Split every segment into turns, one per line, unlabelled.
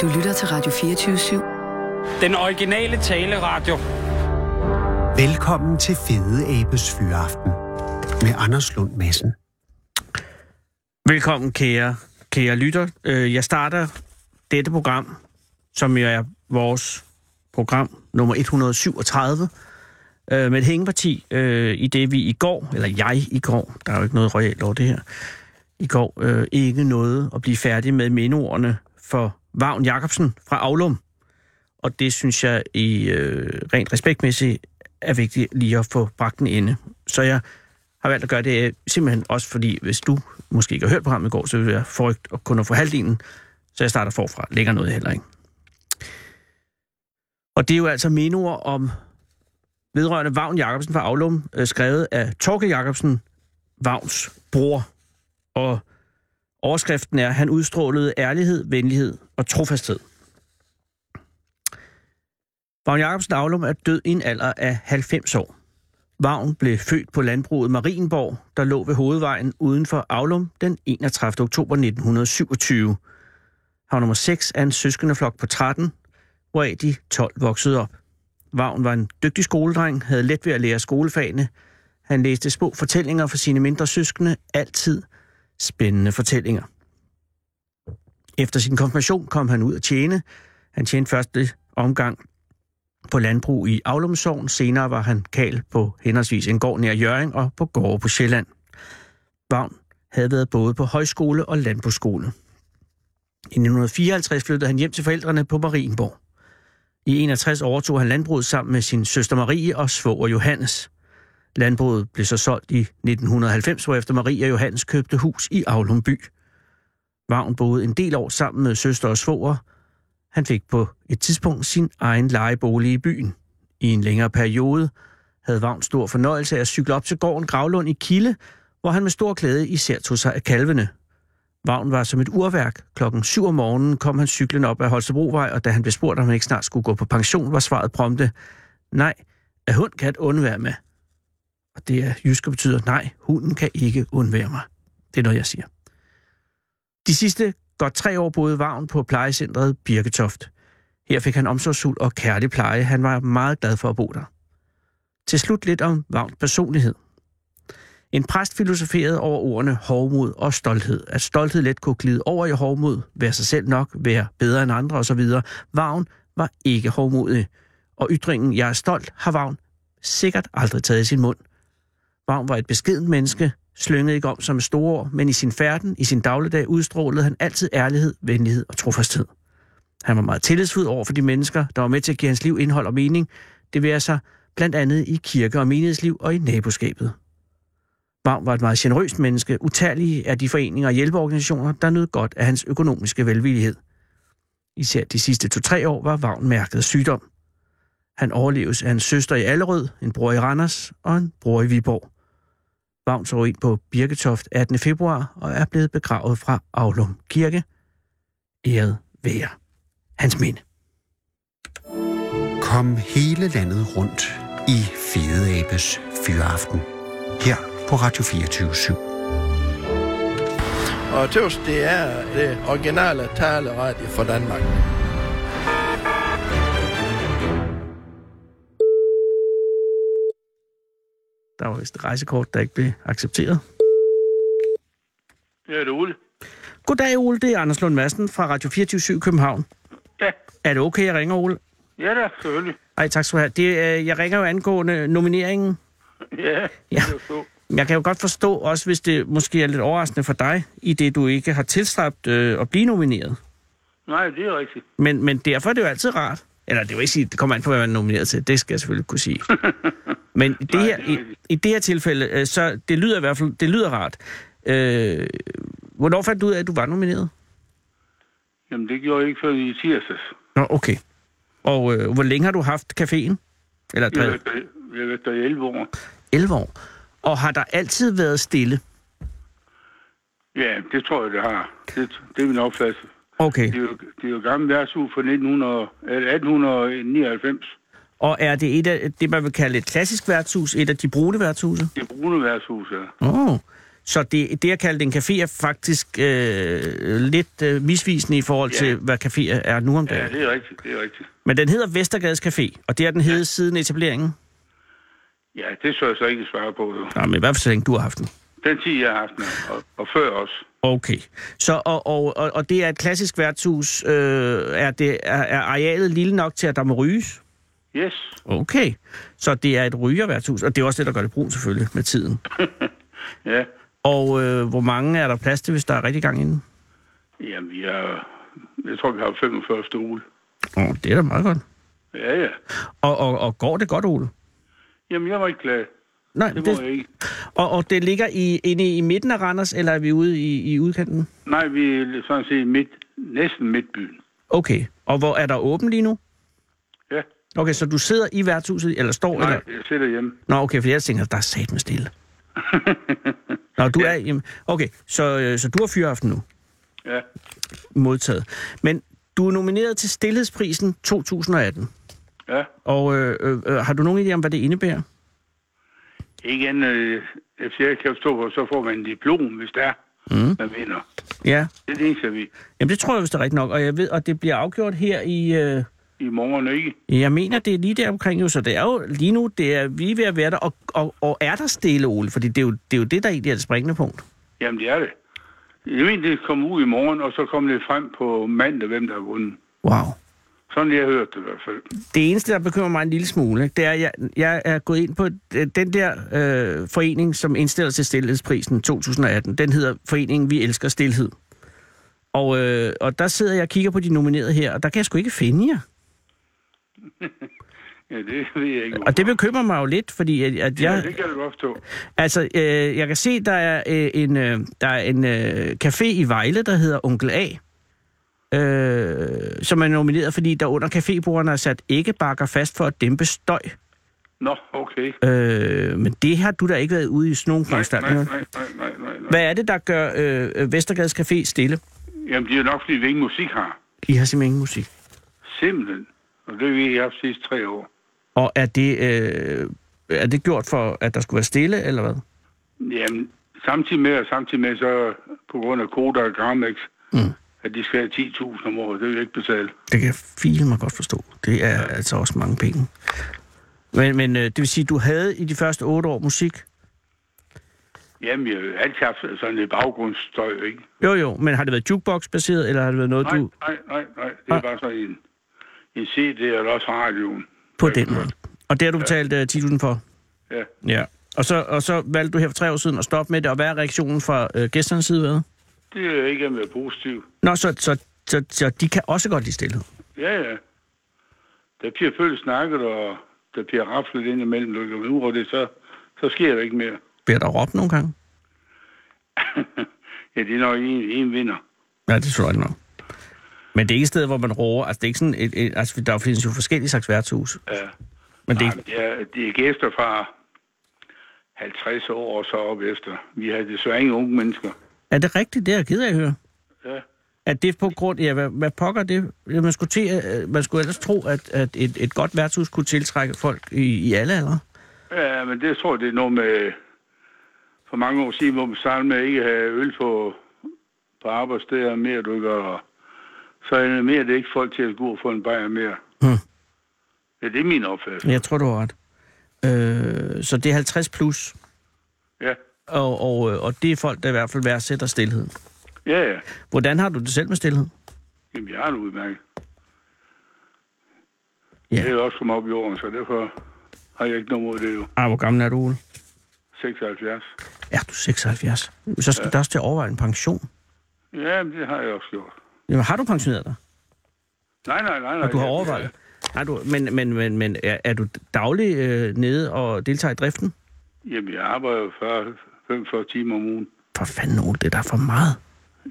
Du lytter til Radio 24 /7.
Den originale taleradio.
Velkommen til Fede Abes Fyraften med Anders Lund Madsen.
Velkommen, kære, kære lytter. Øh, Jeg starter dette program, som jo er vores program nummer 137, øh, med et hængeparti øh, i det, vi i går, eller jeg i går, der er jo ikke noget royalt over det her, i går øh, ikke nåede at blive færdig med mindeordene for Vagn Jacobsen fra Aulum. Og det synes jeg i øh, rent respektmæssigt er vigtigt lige at få bragt den inde. Så jeg har valgt at gøre det øh, simpelthen også fordi, hvis du måske ikke har hørt programmet i går, så vil jeg frygte og kun at få halvdelen, så jeg starter forfra. Lægger noget heller ikke. Og det er jo altså menuer om vedrørende Vagn Jacobsen fra Aulum, øh, skrevet af Torke Jacobsen, Vagns bror. Og overskriften er, han udstrålede ærlighed, venlighed og trofasthed. Vagn Jacobsen Aulum er død i en alder af 90 år. Vagn blev født på landbruget Marienborg, der lå ved hovedvejen uden for Aulum den 31. oktober 1927. Han var nummer 6 af en søskendeflok på 13, hvoraf de 12 voksede op. Vagn var en dygtig skoledreng, havde let ved at lære skolefagene. Han læste små fortællinger for sine mindre søskende, altid spændende fortællinger. Efter sin konfirmation kom han ud at tjene. Han tjente første omgang på landbrug i Aulumsogn. Senere var han kal på henholdsvis en gård nær Jøring og på gårde på Sjælland. Vagn havde været både på højskole og landbrugsskole. I 1954 flyttede han hjem til forældrene på Marienborg. I 61 overtog han landbruget sammen med sin søster Marie og svoger Johannes. Landbruget blev så solgt i 1990, hvorefter Marie og Johannes købte hus i Aulum by. Vagn boede en del år sammen med søster og svoger, han fik på et tidspunkt sin egen lejebolig i byen. I en længere periode havde Vagn stor fornøjelse af at cykle op til gården Gravlund i Kilde, hvor han med stor glæde især tog sig af kalvene. Vagn var som et urværk. Klokken 7 om morgenen kom han cyklen op ad Holstebrovej, og da han blev spurgt, om han ikke snart skulle gå på pension, var svaret prompte, nej, at hund kan at undvære med. Og det er jyske betyder, nej, hunden kan ikke undvære mig. Det er noget, jeg siger. De sidste godt tre år boede Vagn på plejecentret Birketoft. Her fik han omsorgsfuld og kærlig pleje. Han var meget glad for at bo der. Til slut lidt om Vagns personlighed. En præst filosoferede over ordene hovmod og stolthed. At stolthed let kunne glide over i hovmod, være sig selv nok, være bedre end andre osv. Vagn var ikke hovmodig. Og ytringen, jeg er stolt, har Vagn sikkert aldrig taget i sin mund. Vagn var et beskedent menneske, slyngede ikke om som store ord, men i sin færden, i sin dagligdag, udstrålede han altid ærlighed, venlighed og trofasthed. Han var meget tillidsfuld over for de mennesker, der var med til at give hans liv indhold og mening, det være sig blandt andet i kirke- og menighedsliv og i naboskabet. Vagn var et meget generøst menneske. Utallige er de foreninger og hjælpeorganisationer, der nød godt af hans økonomiske velvillighed. Især de sidste to-tre år var Vagn mærket af sygdom. Han overleves af en søster i Allerød, en bror i Randers og en bror i Viborg. Vagn tog ind på Birketoft 18. februar og er blevet begravet fra Aulum Kirke. Æret være hans minde.
Kom hele landet rundt i Fede Abes Fyraften her på Radio 24 7.
Og tøvs, det er det originale taleradio for Danmark.
Der var vist et rejsekort, der ikke blev accepteret.
Ja, det er Ole.
Goddag, Ole. Det er Anders Lund Madsen fra Radio 24 København.
Ja,
Er det okay, jeg ringer, Ole?
ja da, selvfølgelig.
Ej, tak skal du have. Det, øh, jeg ringer jo angående nomineringen.
Ja,
Ja.
ja. det er så.
Jeg kan jo godt forstå, også hvis det måske er lidt overraskende for dig, i det du ikke har tilstræbt øh, at blive nomineret.
Nej, det er rigtigt.
Men, men derfor er det jo altid rart. Eller det vil ikke sige, det kommer an på, hvad man er nomineret til. Det skal jeg selvfølgelig kunne sige. Men i det,
Nej,
her,
det er
i,
rigtigt.
i det her tilfælde, øh, så det lyder i hvert fald det lyder rart. Øh, hvornår fandt du ud af, at du var nomineret?
Jamen, det gjorde jeg ikke før i tirsdags.
Nå, okay. Og øh, hvor længe har du haft caféen? Eller
Jeg har
drevet?
været der- jeg har været der i 11 år.
11 år. Og har der altid været stille?
Ja, det tror jeg, det har. Det, det er min opfattelse.
Okay.
Det er jo, det er jo gammel værtshus fra 1900, eller 1899.
Og er det et af det, man vil kalde et klassisk værtshus? Et af de brune værtshuse?
Det brune værtshus, ja.
Åh. Oh. Så det, det at kalde det en café er faktisk øh, lidt øh, misvisende i forhold
Ja.
til, hvad caféer er nu om
Ja,
dagen.
det er rigtigt, det er rigtigt.
Men den hedder Vestergades Café, og det har den heddet siden etableringen.
Ja, det så jeg så ikke svare på, jo.
Nej, men i hvert fald så længe du har haft den.
Den tid, jeg har haft den, og, og før også.
Okay. Så, og, og, og, og det er et klassisk værtshus. Øh, er, det, er, er arealet lille nok til, at der må ryges?
Yes.
Okay. Så det er et rygerværtshus, og det er også det, der gør det brun selvfølgelig med tiden.
Ja.
Og øh, hvor mange er der plads til, hvis der er rigtig gang inden?
Jamen, vi har... Jeg tror, vi har 45 stole.
Oh, det er da meget godt.
Ja, ja.
Og, og, og går det godt, Ole?
Jamen, jeg var ikke glad.
Nej,
Det
det,
må jeg ikke.
og, og det ligger i, inde i midten af Randers, eller er vi ude i, i udkanten?
Nej, vi er sådan set midt, næsten midtbyen.
Okay. Og hvor er der åben lige nu?
Ja.
Okay, så du sidder i værtshuset, eller står? Eller?
Nej, jeg sidder hjemme.
Nå, okay, for jeg tænker, der er satme stille. Nå, du er... Jamen, okay, så, øh, så du har fyraften nu
Ja.
modtaget. Men du er nomineret til Stillhedsprisen 2018.
Ja.
Og øh, øh, øh, har du nogen idé om, hvad det indebærer?
Ikke andet, øh, hvis jeg kan forstå, hvor så får man en diplom, hvis det er, mm. man vinder.
Ja,
Det er det eneste, vi
jamen det tror jeg, hvis det er rigtigt nok. Og jeg ved, og det bliver afgjort her i... Øh,
i morgen ikke.
jeg mener, det er lige der omkring jo, så det er jo lige nu, det er, vi er ved at være der. Og, og, og er der stille, Ole? Fordi det er, jo, det er jo det, der egentlig er det springende punkt.
Jamen, det er det. Jeg mener, det kommer ud i morgen, og så kommer det frem på mandag, hvem der har vundet.
Wow.
Sådan har jeg hørt det i hvert fald.
Det eneste, der bekymrer mig en lille smule, ikke, det er, at jeg, jeg er gået ind på øh, den der øh, forening, som indstiller til Stilhedsprisen 2018. Den hedder Foreningen Vi Elsker Stilhed. Og, øh, og der sidder jeg og kigger på de nominerede her, og der kan jeg sgu ikke finde jer.
Ja, det ved jeg ikke.
Og det
hvorfor.
bekymrer mig jo lidt, fordi at, at
ja,
jeg...
det kan du godt forstå.
Altså, øh, jeg kan se, der er øh, en, øh, der er en øh, café i Vejle, der hedder Onkel A, øh, som er nomineret, fordi der under cafébordene er sat æggebakker fast for at dæmpe støj.
Nå, okay.
Øh, men det har du da ikke været ude i sådan nogle
Nej, nej,
foranstaltninger.
nej, nej, nej, nej, nej.
Hvad er det, der gør øh, Vestergades Café stille?
Jamen, det er nok, fordi vi ingen musik har.
I har simpelthen ingen musik.
Simpelthen. Og det har vi ikke haft de sidste tre år.
Og er det, øh, er det gjort for, at der skulle være stille, eller hvad?
Jamen, samtidig med, og samtidig med så på grund af Koda og Gramex, mm. at de skal have 10.000 om året, det vil jeg ikke betale.
Det kan jeg file mig godt forstå. Det er altså også mange penge. Men, men øh, det vil sige, du havde i de første otte år musik?
Jamen, jeg har jo altid haft sådan lidt baggrundsstøj, ikke?
Jo, jo, men har det været jukebox-baseret, eller har det været noget,
Nej,
du...
nej, nej, nej. Det er
Nej.
bare sådan en, en CD, eller også radioen.
På den måde. Og det har du betalt øh, 10.000 for?
Ja.
Ja. Og så, og så valgte du her for tre år siden at stoppe med det, og hvad er reaktionen fra øh, gæsternes side været?
Det er ikke at være positiv.
Nå, så, så, så, så de kan også godt lide stillhed.
Ja, ja. Da Pia Føl snakkede, og da Pia raflede ind imellem Lykke med Uro, det så, så sker der ikke mere.
Bliver der råbt nogle gange?
Ja, det er nok en, en vinder.
Ja, det tror jeg nok. Men det er ikke et sted, hvor man råber. Altså, det er ikke sådan et, et, altså, der findes jo forskellige slags værtshus.
Ja.
Men det er
Nej,
ikke...
men det er, det er gæster fra 50 år og så op efter. Vi har desværre ingen unge mennesker.
Er det rigtigt? Det er jeg ked af at høre.
Ja.
At det er på grund... Ja, hvad, hvad pokker det? Ja, Man skulle, til, øh, man skulle ellers tro, at, at et, et godt værtshus kunne tiltrække folk i, i alle aldre.
ja, men det tror jeg, det er noget med... For mange år siden, hvor man startede med at ikke have øl på, på arbejdssteder mere dukker, og så er det mere det ikke folk til at gå og få en bajer mere.
Hmm.
Ja, det er min opfattelse.
Men Jeg tror, du har ret. Øh, så det er 50 plus.
Ja.
Og, og, øh, og det er folk, der i hvert fald værdsætter stillheden.
Ja, ja.
Hvordan har du det selv med stillhed?
Jamen, jeg har det udmærket.
Ja.
Ja. Det er jo også kommet op i årene, så derfor har jeg ikke noget mod det jo.
Ah, hvor gammel er du, Ole?
76.
Ja, du er 76. Så skal ja. du også til at overveje en pension.
Ja, men det har jeg også gjort.
Jamen, har du pensioneret dig?
Nej, nej, nej. nej
Og du har
Ja,
overvejet det? Nej, du, men, men, men, men er, er du daglig øh, nede og deltager i driften?
Jamen, jeg arbejder jo 40, 45 timer om ugen.
For fanden, Ole, det er da for meget.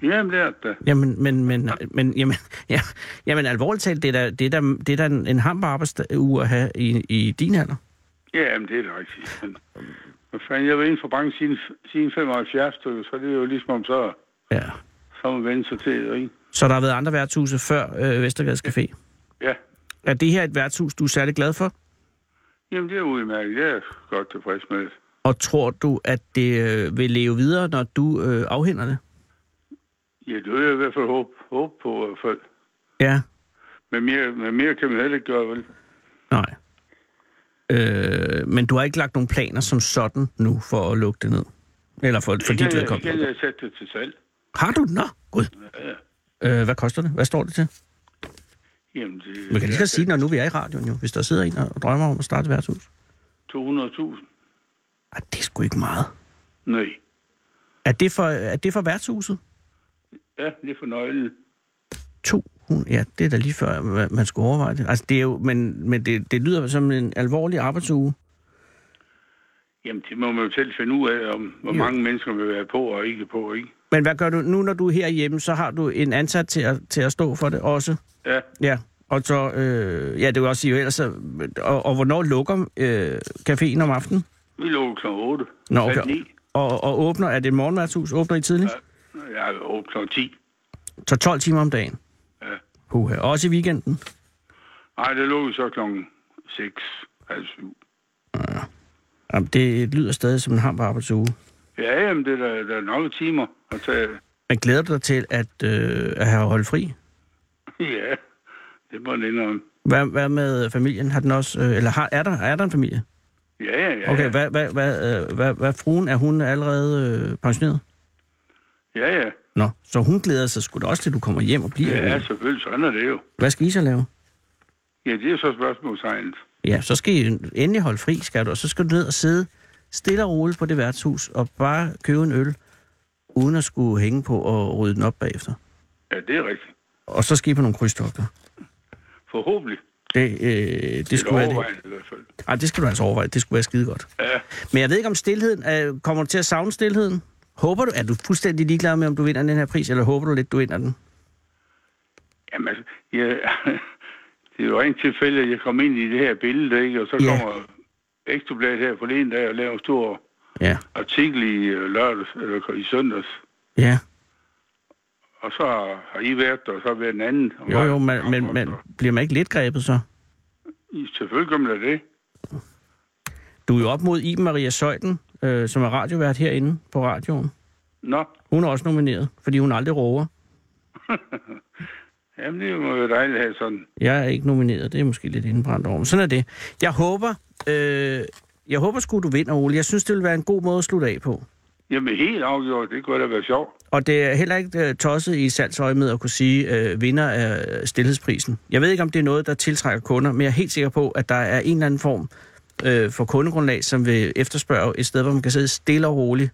Jamen, det er det. da.
Jamen, men, men, men, jamen, ja, jamen alvorligt talt, det er da, det er da, det er da en, en hamper arbejdsuge at have i, i din alder.
Jamen, det er det rigtigt. Men, hvad fanden, jeg har været inden for branchen siden, siden 75, stykker, så det er jo ligesom om så,
Ja.
så må man vende sig til det, ikke?
Så der har været andre værtshuse før øh, Vestergades Café.
Ja.
Er det her et værtshus, du er særlig glad for?
Jamen, det er udmærket. Jeg er godt tilfreds med det.
Og tror du, at det øh, vil leve videre, når du øh, afhænder det?
Ja, det vil jeg i hvert fald håbe, håbe på i hvert fald.
Ja.
Men mere, men mere kan man heller ikke gøre, vel?
Nej. Øh, men du har ikke lagt nogen planer som sådan nu for at lukke det ned? Eller for, for dit
Ikke, jeg, ikke,
vedkommende?
jeg sætte det til salg.
Har du? Nå, gud. Øh, hvad koster det? Hvad står det til?
Jamen, det
Man kan lige så godt sige, når nu vi er i radioen jo, hvis der sidder en og drømmer om at starte et værtshus.
er 200.000.
Ej, det er sgu ikke meget.
Nej.
Er det for, er det for værtshuset?
Ja, det er for nøglen.
200, ja, det er da lige før, hva- man skulle overveje det. Altså, det er jo, men, men det, det lyder som en alvorlig arbejdsuge.
Jamen, det må man jo selv finde ud af, om hvor
Jo.
mange mennesker vil være på og ikke på, ikke?
Men hvad gør du nu, når du er herhjemme, så har du en ansat til at, til at stå for det også?
Ja,
Ja, og så, øh, ja, det vil også sige, jo ellers, så- og, og hvornår lukker øh, caféen om aftenen?
vi lukker kl. 8.
Nå,
Halv
okay.
ni.
Og, og åbner, er det morgenværtshus, åbner I tidligt?
Ja, jeg åbner kl. 10.
Så 12 timer om dagen?
Ja.
Huha. Også i weekenden?
Nej, det lukker så kl. 6, halv 7.
Jamen, det lyder stadig som en ham på arbejdsuge.
Ja, jamen, det er der, der er nok timer at tage.
Men glæder du dig til at, øh, at have holdt fri?
Ja, det må den indrømme.
Hvad, hvad med familien? Har den også, øh, eller har, er, der, er der en familie?
Ja, ja, ja.
Okay, hvad, hvad, hvad, øh, hvad, hvad fruen, er hun allerede øh, pensioneret?
Ja, ja.
Nå, så hun glæder sig sgu da også til, at du kommer hjem og bliver.
Ja, selvfølgelig. Sådan er det jo.
Hvad skal I så lave?
Ja, det er så spørgsmålstegnet.
Ja, så skal I endelig holde fri, skal du, og så skal du ned og sidde stille og roligt på det værtshus og bare købe en øl, uden at skulle hænge på og rydde den op bagefter.
Ja, det er rigtigt.
Og så skal I på nogle krydstogter.
Forhåbentlig.
Det, øh, det,
Det
skulle
er
jeg,
overvejende i hvert fald.
ej, det skal du altså overveje. Det skulle være skide godt.
Ja,
Men jeg ved ikke, om stillheden... Øh, kommer du til at savne stillheden? Håber du... Er du fuldstændig ligeglad med, om du vinder den her pris, eller håber du lidt, du vinder den?
jamen, altså, ja, det er jo rent tilfælde, at jeg kom ind i det her billede, ikke? og så
Ja.
kommer Ekstrabladet her forleden dag og laver en stor
Ja.
artikel i øh, lørdags, eller i søndags.
Ja.
Og så har- har I været der, og så har været en anden. Og
Jo,
mig.
jo, men, men, men bliver man ikke lidt grebet så?
I- Selvfølgelig gør man da det.
Du er jo op mod Iben Maria Søjden, øh, som er radiovært herinde på radioen.
Nå,
Hun er også nomineret, fordi hun aldrig råber.
jamen det må være dejligt at have sådan.
Jeg er ikke nomineret, det er jeg måske lidt indbrændt over, men sådan er det. Jeg håber, øh, jeg håber sgu, du vinder, Ole. Jeg synes, det vil være en god måde at slutte af på.
Jamen helt afgjort, det kunne da være sjovt.
Og det er heller ikke øh, tosset i salgsøje med at kunne sige øh, vinder af stillhedsprisen. Jeg ved ikke, om det er noget, der tiltrækker kunder, men jeg er helt sikker på, at der er en eller anden form øh, for kundegrundlag, som vil efterspørge et sted, hvor man kan sidde stille og roligt,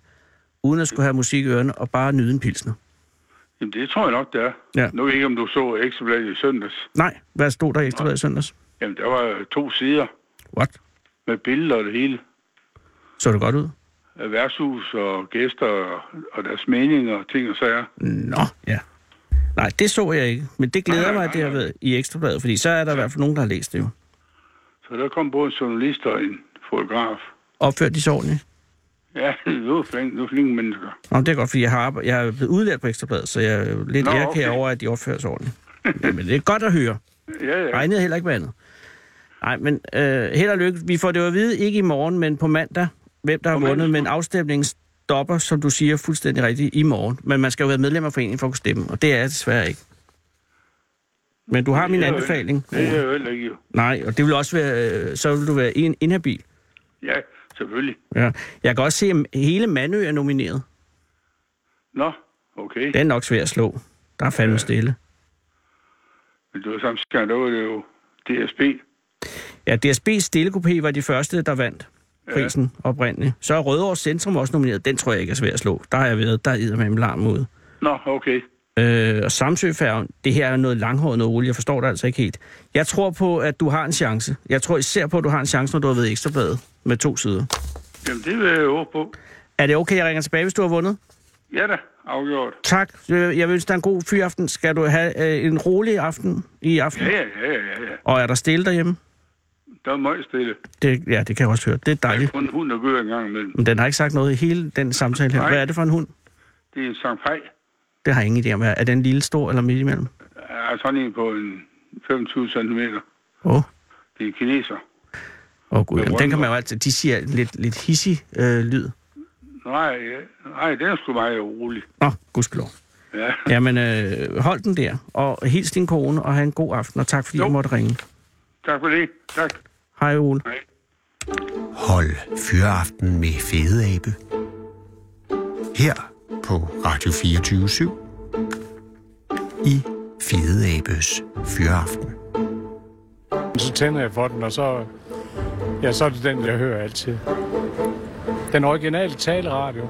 uden at skulle have musik i ørerne, og bare nyde en pilsner.
Jamen det tror jeg nok, det er.
Ja.
Nu ved jeg ikke, om du så Ekstrabladet i søndags.
Nej, hvad stod der i Ekstra Bladet i søndags?
Jamen der var to sider
What?
med billeder og det hele.
Så det godt ud?
af værtshus og gæster og, og deres meninger og ting og sager.
Nå, ja. Nej, det så jeg ikke, men det glæder
Nej, nej,
mig, at det har
nej, nej.
været i Ekstrabladet, fordi så er der i hvert fald nogen, der har læst det jo.
Så der kom både en journalist og en fotograf.
Opført de så ordentligt?
Ja, nu er flink, nu er flinke mennesker.
Nå, men det er godt, fordi jeg, har, arbejdet- jeg er blevet udlært på Ekstrabladet, så jeg er jo lidt
Nå,
ærger
okay.
over, at de opfører sig ordentligt. Men det er godt at høre.
Ja, ja.
Regnede heller ikke med andet. Nej, men øh, held og lykke. Vi får det jo at vide, ikke i morgen, men på mandag, hvem der har
På mandag.
vundet, men afstemningen stopper, som du siger, fuldstændig rigtigt, i morgen. Men man skal jo være medlem af foreningen for at kunne stemme, og det er jeg desværre ikke. Men du har min
Det er jo-
anbefaling.
Det er jo heller ikke jo.
Nej, og det vil også være, øh, så vil du være en inhabil.
Ja, selvfølgelig.
Ja. Jeg kan også se, at hele Mandø er nomineret.
Nå, okay.
Den er nok svær at slå. Der er fandme stille.
Men det var samtidig, der var det jo DSB.
Ja, DSB's stillekopé var de første, der vandt prisen oprindeligt. Så er Rødovre Centrum også nomineret. Den tror jeg ikke er svær at slå. Der har jeg været, der er med en larm ud.
Nå, okay.
Øh, og Samsøfærgen, det her er noget langhåret noget olie, jeg forstår det altså ikke helt. Jeg tror på, at du har en chance. Jeg tror især på, at du har en chance, når du har været i ekstrabladet med to sider.
Jamen, det vil jeg jo håbe på.
Er det okay, jeg ringer tilbage, hvis du har vundet?
Ja da, afgjort.
Tak. Øh, Jeg vil ønske dig en god fyraften. Skal du have øh, en rolig aften i aften?
Ja, ja, ja, ja, ja.
Og er der stille derhjemme?
Der er meget stille.
Det, ja, det kan jeg også høre. Det er dejligt.
Kun hund og gør en gang imellem.
Men den har ikke sagt noget i hele den samtale her.
Nej.
Hvad er det for en hund?
Det er en Shanghai.
Det har jeg ingen idé om. hvad er. Er den lille, stor eller midt imellem?
Altså, Jeg er sådan en på en 25 cm.
Åh, oh,
Det er kineser.
Åh oh, gud, jamen, den kan man jo altid... De siger lidt, lidt hissig øh, lyd.
Nej, ja. nej, den er sgu meget rolig.
Nå, gudskelov.
Ja.
Jamen, øh, hold den der, og hils din kone, og have en god aften, og tak fordi
Jo.
du måtte ringe.
Tak for det. Tak.
Hej, Ole.
Hej.
Hold fyreaften med Fede Abe. Her på Radio 24 i Fede Abes Fyreaften.
Så tænder jeg for den, og så, ja, så er det den, jeg hører altid. Den originale taleradio.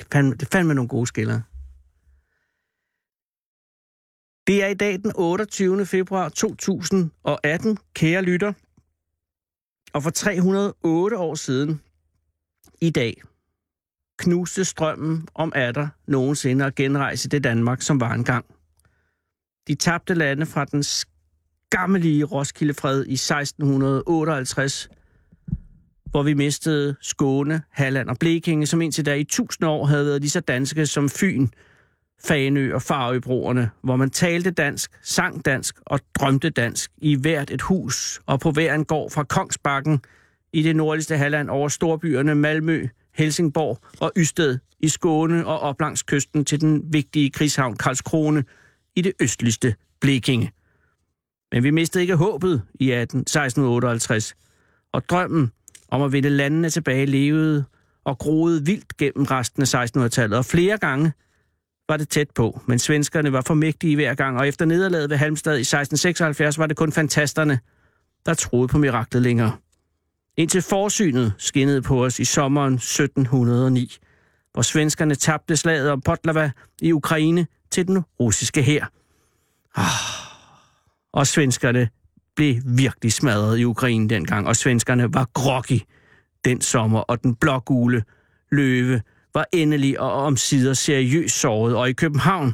Det fandt, det fandt med nogle gode skillere. Det er i dag den 28. februar 2018, kære lytter. Og for 308 år siden, i dag, knuste strømmen om atter nogensinde at genrejse det Danmark, som var engang. De tabte lande fra den skammelige Roskildefred i 1658 hvor vi mistede Skåne, Halland og Blekinge, som indtil da i tusind år havde været lige så danske som Fyn, Fanø og Farøbroerne, hvor man talte dansk, sang dansk og drømte dansk i hvert et hus og på hver en gård fra Kongsbakken i det nordligste Halland over storbyerne Malmø, Helsingborg og Ysted i Skåne og op langs kysten til den vigtige krigshavn Karlskrone i det østligste Blekinge. Men vi mistede ikke håbet i 18, 1658, og drømmen om at vinde landene tilbage levede og groede vildt gennem resten af 1600-tallet, og flere gange var det tæt på, men svenskerne var for mægtige hver gang, og efter nederlaget ved Halmstad i 1676 var det kun fantasterne, der troede på miraklet længere. Indtil forsynet skinnede på os i sommeren 1709, hvor svenskerne tabte slaget om Potlava i Ukraine til den russiske hær. Ah. Og svenskerne blev virkelig smadret i Ukraine dengang, og svenskerne var groggy den sommer, og den blågule løve var endelig og omsider seriøst såret, og i København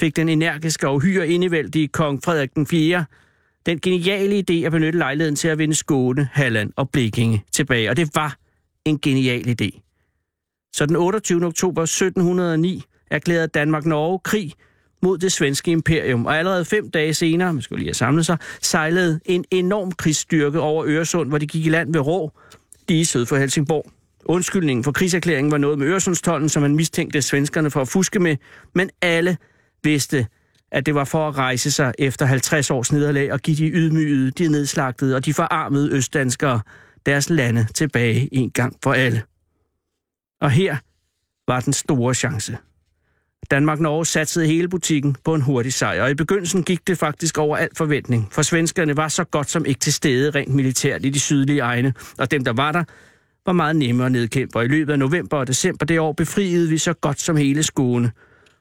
fik den energiske og uhyre indevældige kong Frederik den 4. den geniale idé at benytte lejligheden til at vinde Skåne, Halland og Blekinge tilbage, og det var en genial idé. Så den 28. oktober 1709 erklærede Danmark-Norge krig mod det svenske imperium, og allerede fem dage senere, man skulle lige have samlet sig, sejlede en enorm krigsstyrke over Øresund, hvor de gik i land ved Rå, lige syd for Helsingborg. Undskyldningen for krigserklæringen var noget med Øresundstollen, som man mistænkte svenskerne for at fuske med, men alle vidste, at det var for at rejse sig efter 50 års nederlag og give de ydmygede, de nedslagtede og de forarmede østdanskere deres lande tilbage en gang for alle. Og her var den store chance. Danmark-Norge satsede hele butikken på en hurtig sejr, og i begyndelsen gik det faktisk over al forventning, for svenskerne var så godt som ikke til stede rent militært i de sydlige egne, og dem, der var der, var meget nemmere at nedkæmpe, og i løbet af november og december det år befriede vi så godt som hele Skåne.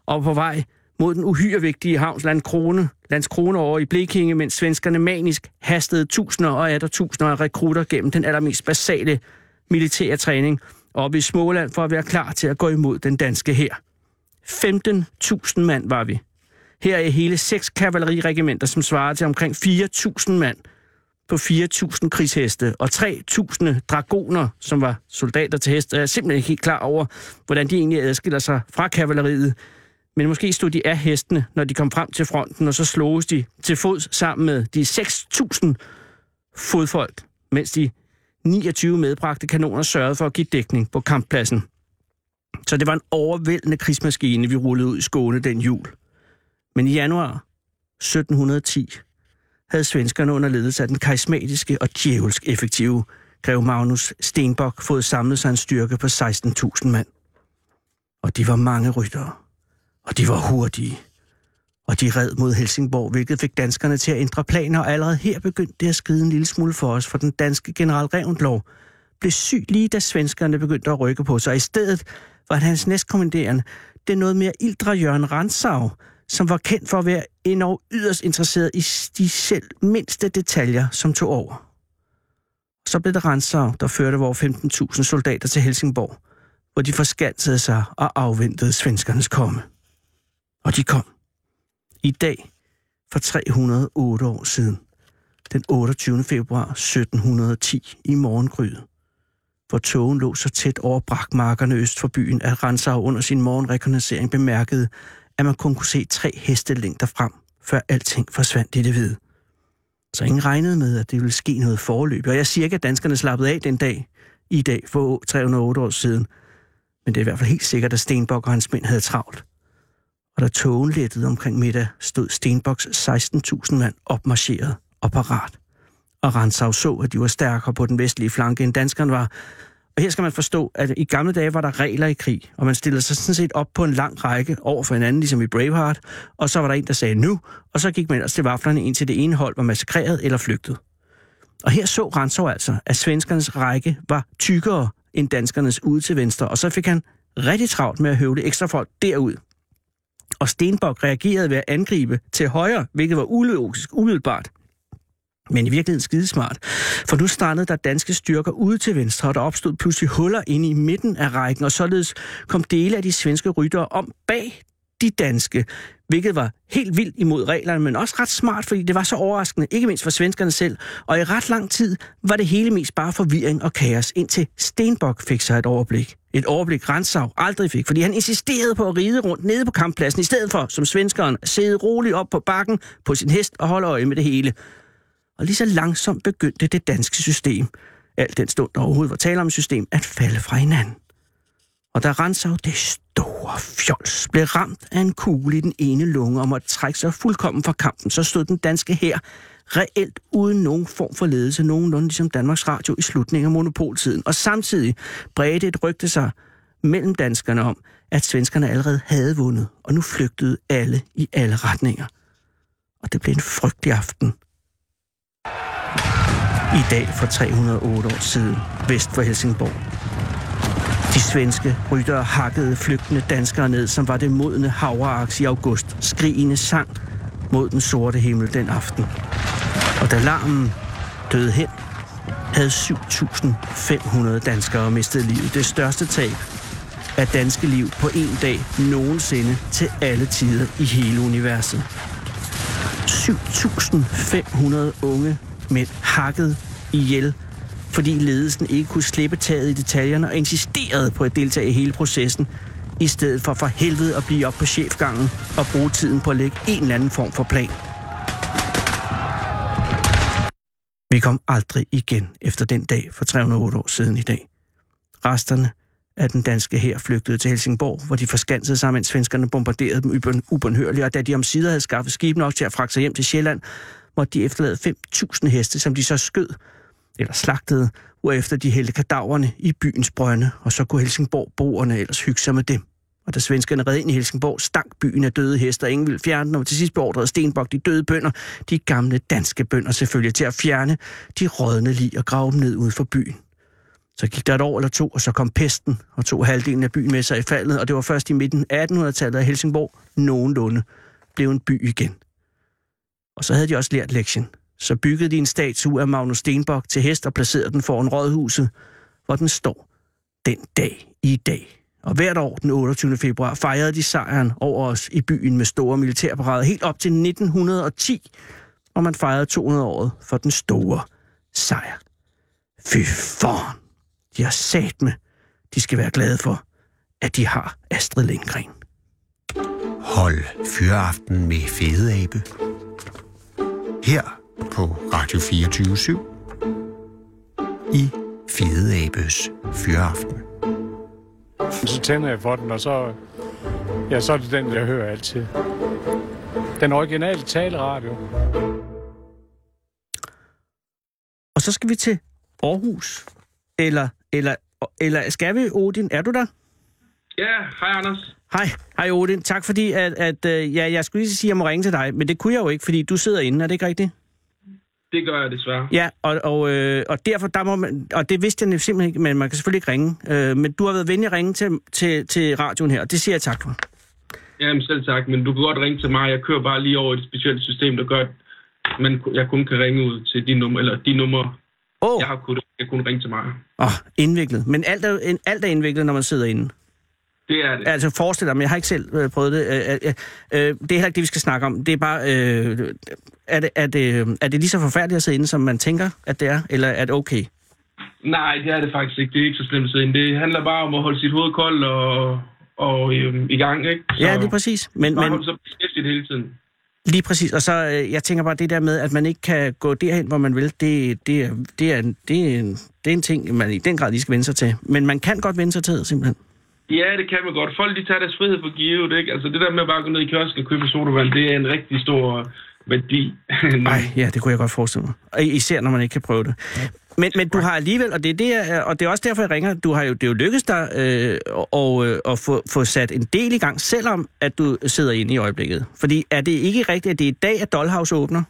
Og på vej mod den uhyre vigtige havns Landkrone, Landskrone over i Blekinge, mens svenskerne manisk hastede tusinder og atter tusinder af rekrutter gennem den allermest basale militære træning oppe i Småland for at være klar til at gå imod den danske her. 15.000 mand var vi. Her er hele seks kavaleriregimenter, som svarer til omkring 4.000 mand på 4.000 krigsheste, og 3.000 dragoner, som var soldater til heste. Jeg er simpelthen ikke helt klar over, hvordan de egentlig adskiller sig fra kavaleriet. Men måske stod de af hestene, når de kom frem til fronten, og så sloges de til fods sammen med de 6.000 fodfolk, mens de 29 medbragte kanoner sørgede for at give dækning på kamppladsen. Så det var en overvældende krigsmaskine, vi rullede ud i Skåne den jul. Men i januar 1710 havde svenskerne under ledelse af den karismatiske og djævelsk effektive grev Magnus Stenbock fået samlet sig en styrke på 16.000 mand. Og de var mange ryttere. Og de var hurtige. Og de red mod Helsingborg, hvilket fik danskerne til at ændre planer, og allerede her begyndte det at skride en lille smule for os, for den danske general Revendlov blev syg lige da svenskerne begyndte at rykke på sig. I stedet var det hans næstkommanderende, den noget mere ildre Jørgen Ransau, som var kendt for at være endnu yderst interesseret i de selv mindste detaljer, som tog over. Så blev det Ransau, der førte vores 15.000 soldater til Helsingborg, hvor de forskansede sig og afventede svenskernes komme. Og de kom. I dag, for 308 år siden, den 28. februar 1710 i morgengryet, hvor togen lå så tæt over brakmarkerne øst for byen, at Ransau under sin morgenrekognoscering bemærkede, at man kun kunne se tre hestelængder frem før alting forsvandt i det hvide. Så ingen regnede med, at det ville ske noget forløb. Og jeg siger ikke, at danskerne slappede af den dag i dag for 308 år siden. Men det er i hvert fald helt sikkert, at Stenbok og hans mænd havde travlt. Og da tågen lettede omkring middag, stod Stenboks 16.000 mand opmarcheret og parat. Og Ransau så, at de var stærkere på den vestlige flanke, end danskerne var. Og her skal man forstå, at i gamle dage var der regler i krig, og man stillede sig sådan set op på en lang række over for hinanden, ligesom i Braveheart, og så var der en, der sagde nu, og så gik man ellers til vaflerne, indtil det ene hold var massakreret eller flygtet. Og her så Ransov altså, at svenskernes række var tykkere end danskernes ude til venstre, og så fik han rigtig travlt med at høvle ekstra folk derud. Og Stenbok reagerede ved at angribe til højre, hvilket var ulogisk umiddelbart. Men i virkeligheden skidesmart, for nu strandede der danske styrker ude til venstre, og der opstod pludselig huller inde i midten af rækken, og således kom dele af de svenske ryttere om bag de danske, hvilket var helt vildt imod reglerne, men også ret smart, fordi det var så overraskende, ikke mindst for svenskerne selv, og i ret lang tid var det hele mest bare forvirring og kaos, indtil Stenbok fik sig et overblik. Et overblik Ransau aldrig fik, fordi han insisterede på at ride rundt nede på kamppladsen, i stedet for, som svenskeren, sidde roligt op på bakken på sin hest og holde øje med det hele og lige så langsomt begyndte det danske system, alt den stund der overhovedet var tale om et system, at falde fra hinanden. Og da Ransau, det store fjols, blev ramt af en kugle i den ene lunge og måtte trække sig fuldkommen fra kampen, så stod den danske her reelt uden nogen form for ledelse, nogenlunde ligesom Danmarks Radio i slutningen af monopoltiden. Og samtidig bredte et rygte sig mellem danskerne om, at svenskerne allerede havde vundet, og nu flygtede alle i alle retninger. Og det blev en frygtelig aften i dag for 308 år siden, vest for Helsingborg. De svenske ryttere hakkede flygtende danskere ned, som var det modne havreaks i august, skrigende sang mod den sorte himmel den aften. Og da larmen døde hen, havde 7.500 danskere mistet livet. Det største tab af danske liv på en dag nogensinde til alle tider i hele universet. 7.500 unge mænd hakket ihjel, fordi ledelsen ikke kunne slippe taget i detaljerne og insisterede på at deltage i hele processen, i stedet for for helvede at blive op på chefgangen og bruge tiden på at lægge en eller anden form for plan. Vi kom aldrig igen efter den dag for 308 år siden i dag. Resterne af den danske her flygtede til Helsingborg, hvor de forskansede sig, mens svenskerne bombarderede dem ubøn- ubønhørligt, og da de omsider havde skaffet skib nok til at fragte sig hjem til Sjælland, måtte de efterlade 5.000 heste, som de så skød eller slagtede, hvorefter de hældte kadaverne i byens brønde, og så kunne Helsingborg-boerne ellers hygge sig med dem. Og da svenskerne red ind i Helsingborg, stank byen af døde heste, og ingen ville fjerne dem, og til sidst beordrede Stenbok de døde bønder, de gamle danske bønder selvfølgelig, til at fjerne de rådne lig og grave dem ned ude for byen. Så gik der et år eller to, og så kom pesten og tog halvdelen af byen med sig i faldet, og det var først i midten af 1800-tallet, at Helsingborg nogenlunde blev en by igen. Og så havde de også lært lektien. Så byggede de en statue af Magnus Stenbok til hest og placerede den foran rådhuset, hvor den står den dag i dag. Og hvert år den 28. februar fejrede de sejren over os i byen med store militærparader helt op til 1910, hvor man fejrede 200-året for den store sejr. Fy foran! De har sat med. De skal være glade for, at de har Astrid Lindgren.
Hold Fyraften med Fede Abe. Her på Radio 24 i Fede Abes Fyraften.
Så tænder jeg for den, og så, ja, så er det den, jeg hører altid. Den originale taleradio.
Og så skal vi til Aarhus. Eller, eller, eller skal vi, Odin? Er du der?
Ja, hej Anders.
Hej, hej Odin. Tak fordi, at, at øh, ja, jeg skulle lige sige, at jeg må ringe til dig, men det kunne jeg jo ikke, fordi du sidder inde, er det ikke rigtigt?
Det gør jeg desværre.
Ja, og, og, øh, og derfor, der må man, og det vidste jeg simpelthen ikke, men man kan selvfølgelig ikke ringe. Øh, men du har været venlig at ringe til, til, til radioen her, og det siger jeg tak for.
Jamen selv tak, men du kan godt ringe til mig. Jeg kører bare lige over et specielt system, der gør, at man, jeg kun kan ringe ud til de numre, eller de numre,
Åh, oh,
jeg har kunnet, jeg kunne ringe til mig.
oh, indviklet. Men alt er, jo- en- alt er indviklet, når man sidder inde.
Det er det.
Altså forestil dig, men jeg har ikke selv øh, prøvet det. Øh, øh, øh, det er heller ikke det, vi skal snakke om. Det er bare, øh, er, det, er, det, er det lige så forfærdeligt at sidde inde, som man tænker, at det er? Eller er det okay?
Nej, det er det faktisk ikke. Det er ikke så slemt siden. Det handler bare om at holde sit hoved koldt og, og øhm, i gang, ikke? Så,
Ja, lige præcis. Men,
Bare
men,
holde sig beskæftiget hele tiden.
Lige præcis, og så øh, jeg tænker bare det der med, at man ikke kan gå derhen, hvor man vil, det, det, er- det, er, en- det, er, en, det er en ting, man i den grad lige skal vende sig til. Men man kan godt vende sig til, simpelthen.
Ja, det kan man godt. Folk, de tager deres frihed for givet, ikke? Altså, det der med bare at gå ned i kiosken og købe en sodavand, det er en rigtig stor værdi. Mm.
Nej, ja, det kunne jeg godt forestille mig. Og Især når man ikke kan prøve det. Men, men du har alligevel, og det, er det, jeg- og det er også derfor, jeg ringer, du har jo, det er jo lykkedes dig øh, og, øh, at få, få sat en del i gang, selvom at du sidder inde i øjeblikket. Fordi er det ikke rigtigt, at det er i dag, at Dollhouse åbner?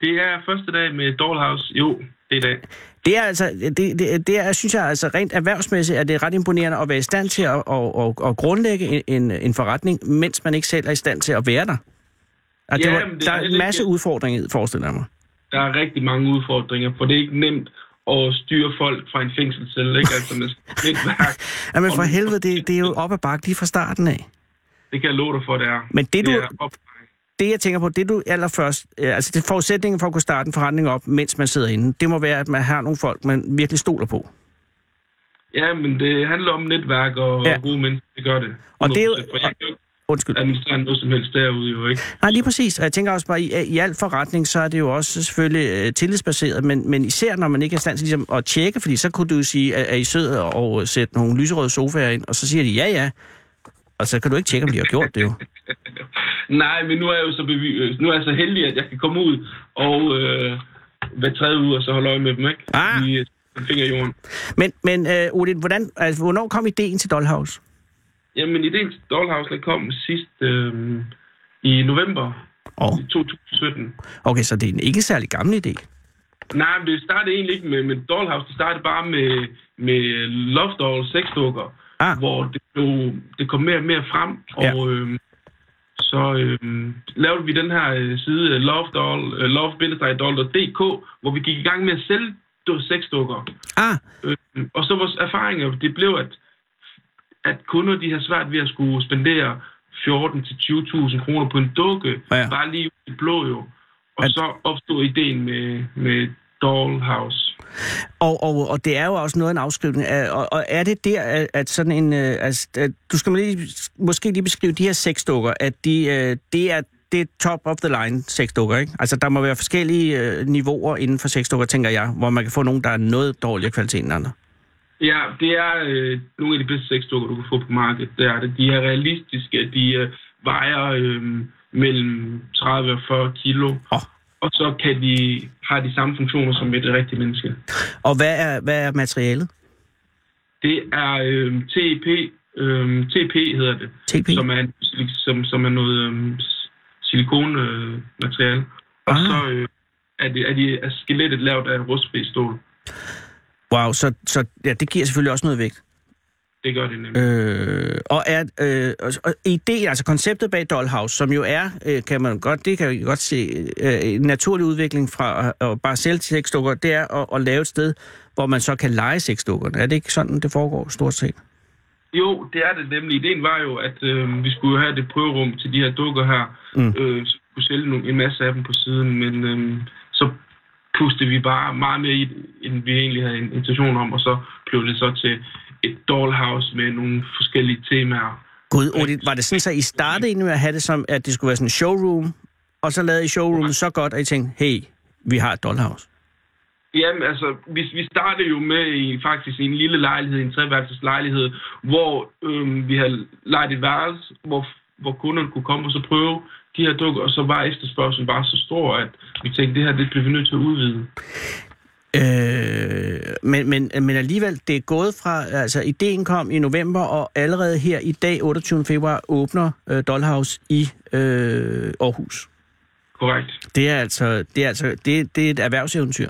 Det er første dag med Dollhouse. Jo, det er i dag.
Det er altså, det, det, det er, synes jeg altså rent erhvervsmæssigt, at det er ret imponerende at være i stand til at, at, at, at grundlægge en, en forretning, mens man ikke selv er i stand til at være der. Og det
Ja,
var,
men det
der
er
er en
heller
masse
ikke-
udfordringer, i det, forestiller jeg mig.
Der er rigtig mange udfordringer, for det er ikke nemt at styre folk fra en fængselscelle, ikke? Altså, man skal lidt værk.
Jamen for helvede, det, det er jo op ad bakke lige fra starten af.
Det kan jeg love dig for, det er.
Men det, du-
er op...
det jeg tænker på, det du allerførst, øh, altså det forudsætningen for at kunne starte en forretning op, mens man sidder inde, det må være, at man har nogle folk, man virkelig stoler på.
Ja, men det handler om netværk og
Ja.
ja. gode mennesker, det gør det.
Og det er jo-
100%, For jeg kan jo ikke
Undskyld.
administrere noget som helst derude, jo ikke?
Nej, lige præcis. Og jeg tænker også bare, i, i al forretning, så er det jo også selvfølgelig øh, tillidsbaseret, men, men især når man ikke er i stand til ligesom, at tjekke, fordi så kunne du jo sige, at, at I sød og, og sætte nogle lyserøde sofaer ind, og så siger de ja, ja. Og så kan du ikke tjekke, om de har gjort det jo.
Nej, men nu er jeg jo så, bevi- øh, nu er jeg så heldig, at jeg kan komme ud og øh, hver tredje uge og så holde øje med dem, ikke?
Ah.
I, øh, en finger i jorden.
Men, men øh, Odin, hvordan, altså, hvornår kom ideen til Dollhouse?
Jamen, ideen til Dollhouse den kom sidst øh, i november
Oh,
i 2017.
okay, så det er en ikke særlig gammel idé.
Nej, men det startede egentlig ikke med, med Dollhouse. Det startede bare med, med Love Doll sexdukker,
Ah.
hvor det, blev, det kom mere og mere frem.
Ja.
Og øhm, så øhm, lavede vi den her øh, side øh, love doll, øh, love hvor vi gik i gang med at sælge du- sexdukker.
Ah,
Øhm, og så vores erfaringer, det blev, at, at kunder de har svært ved at skulle spendere 14-20.000 kroner på en dukke,
Ja.
ja. bare lige i det blå jo. Og
At-
så opstod ideen med, med Dollhouse.
Og, og, og det er jo også noget af en afskrivning. Er- Og, og er det der, at, at sådan en... øh, Altså, at du skal lige, måske lige beskrive de her seks dukker, at de, øh, det er det er top of the line seks dukker, ikke? Altså, der må være forskellige øh, niveauer inden for seks dukker, tænker jeg, hvor man kan få nogen, der er noget dårligere kvalitet end andre.
Ja, det er øh, nogle af de bedste sexdukker, du kan få på markedet. Det er det. De er realistiske. De øh, vejer øh, mellem 30 og 40 kilo.
Åh.
Og så kan de, har de samme funktioner som et rigtigt menneske.
Og hvad er, hvad er materialet?
Det er øh, TP, øh, TP hedder det,
TP?
som er, en silik- som, som er noget øh, silikonmateriale. Øh, materiale. og
Ah.
så øh, er, det, er, de, er skelettet lavet af rustfri-stål.
Wow, så, så ja, det giver selvfølgelig også noget vægt.
Det gør det nemlig.
Øh, og er øh, og, og ideen, altså konceptet bag Dollhouse, som jo er, øh, kan man godt, det kan jeg godt se, øh, en naturlig udvikling fra at, at bare sælge sexdukker, det er at, at lave et sted, hvor man så kan lege sexdukkerne. Er det ikke sådan, det foregår stort set?
Jo, det er det nemlig. Ideen var jo, at øh, vi skulle jo have det prøverum til de her dukker her.
Mm.
Mm. Øh, så vi kunne sælge nogle, en masse af dem på siden, men øh, så pustede vi bare meget mere i, end vi egentlig havde en intention om, og så blev det så til et dollhouse med nogle forskellige temaer.
Gud, Odin, var det sådan, så I startede egentlig med at have det som, at det skulle være sådan en showroom, og så lavede I showroomet så godt, at I tænkte, hey, vi har et Dollhouse.
Jamen, altså, vi, vi startede jo med i, faktisk i en lille lejlighed, en treværelses lejlighed, hvor øhm, vi havde lejet et værelse, hvor, hvor kunderne kunne komme og så prøve de her dukker, og så var efterspørgselen bare så stor, at vi tænkte, det her, det bliver vi nødt til at udvide.
Øh, men, men, men alligevel, det er gået fra, altså ideen kom i november, og allerede her i dag, 28. februar, åbner øh, Dollhouse i øh, Aarhus.
Korrekt.
Det er altså, det er, altså det, det er et erhvervseventyr.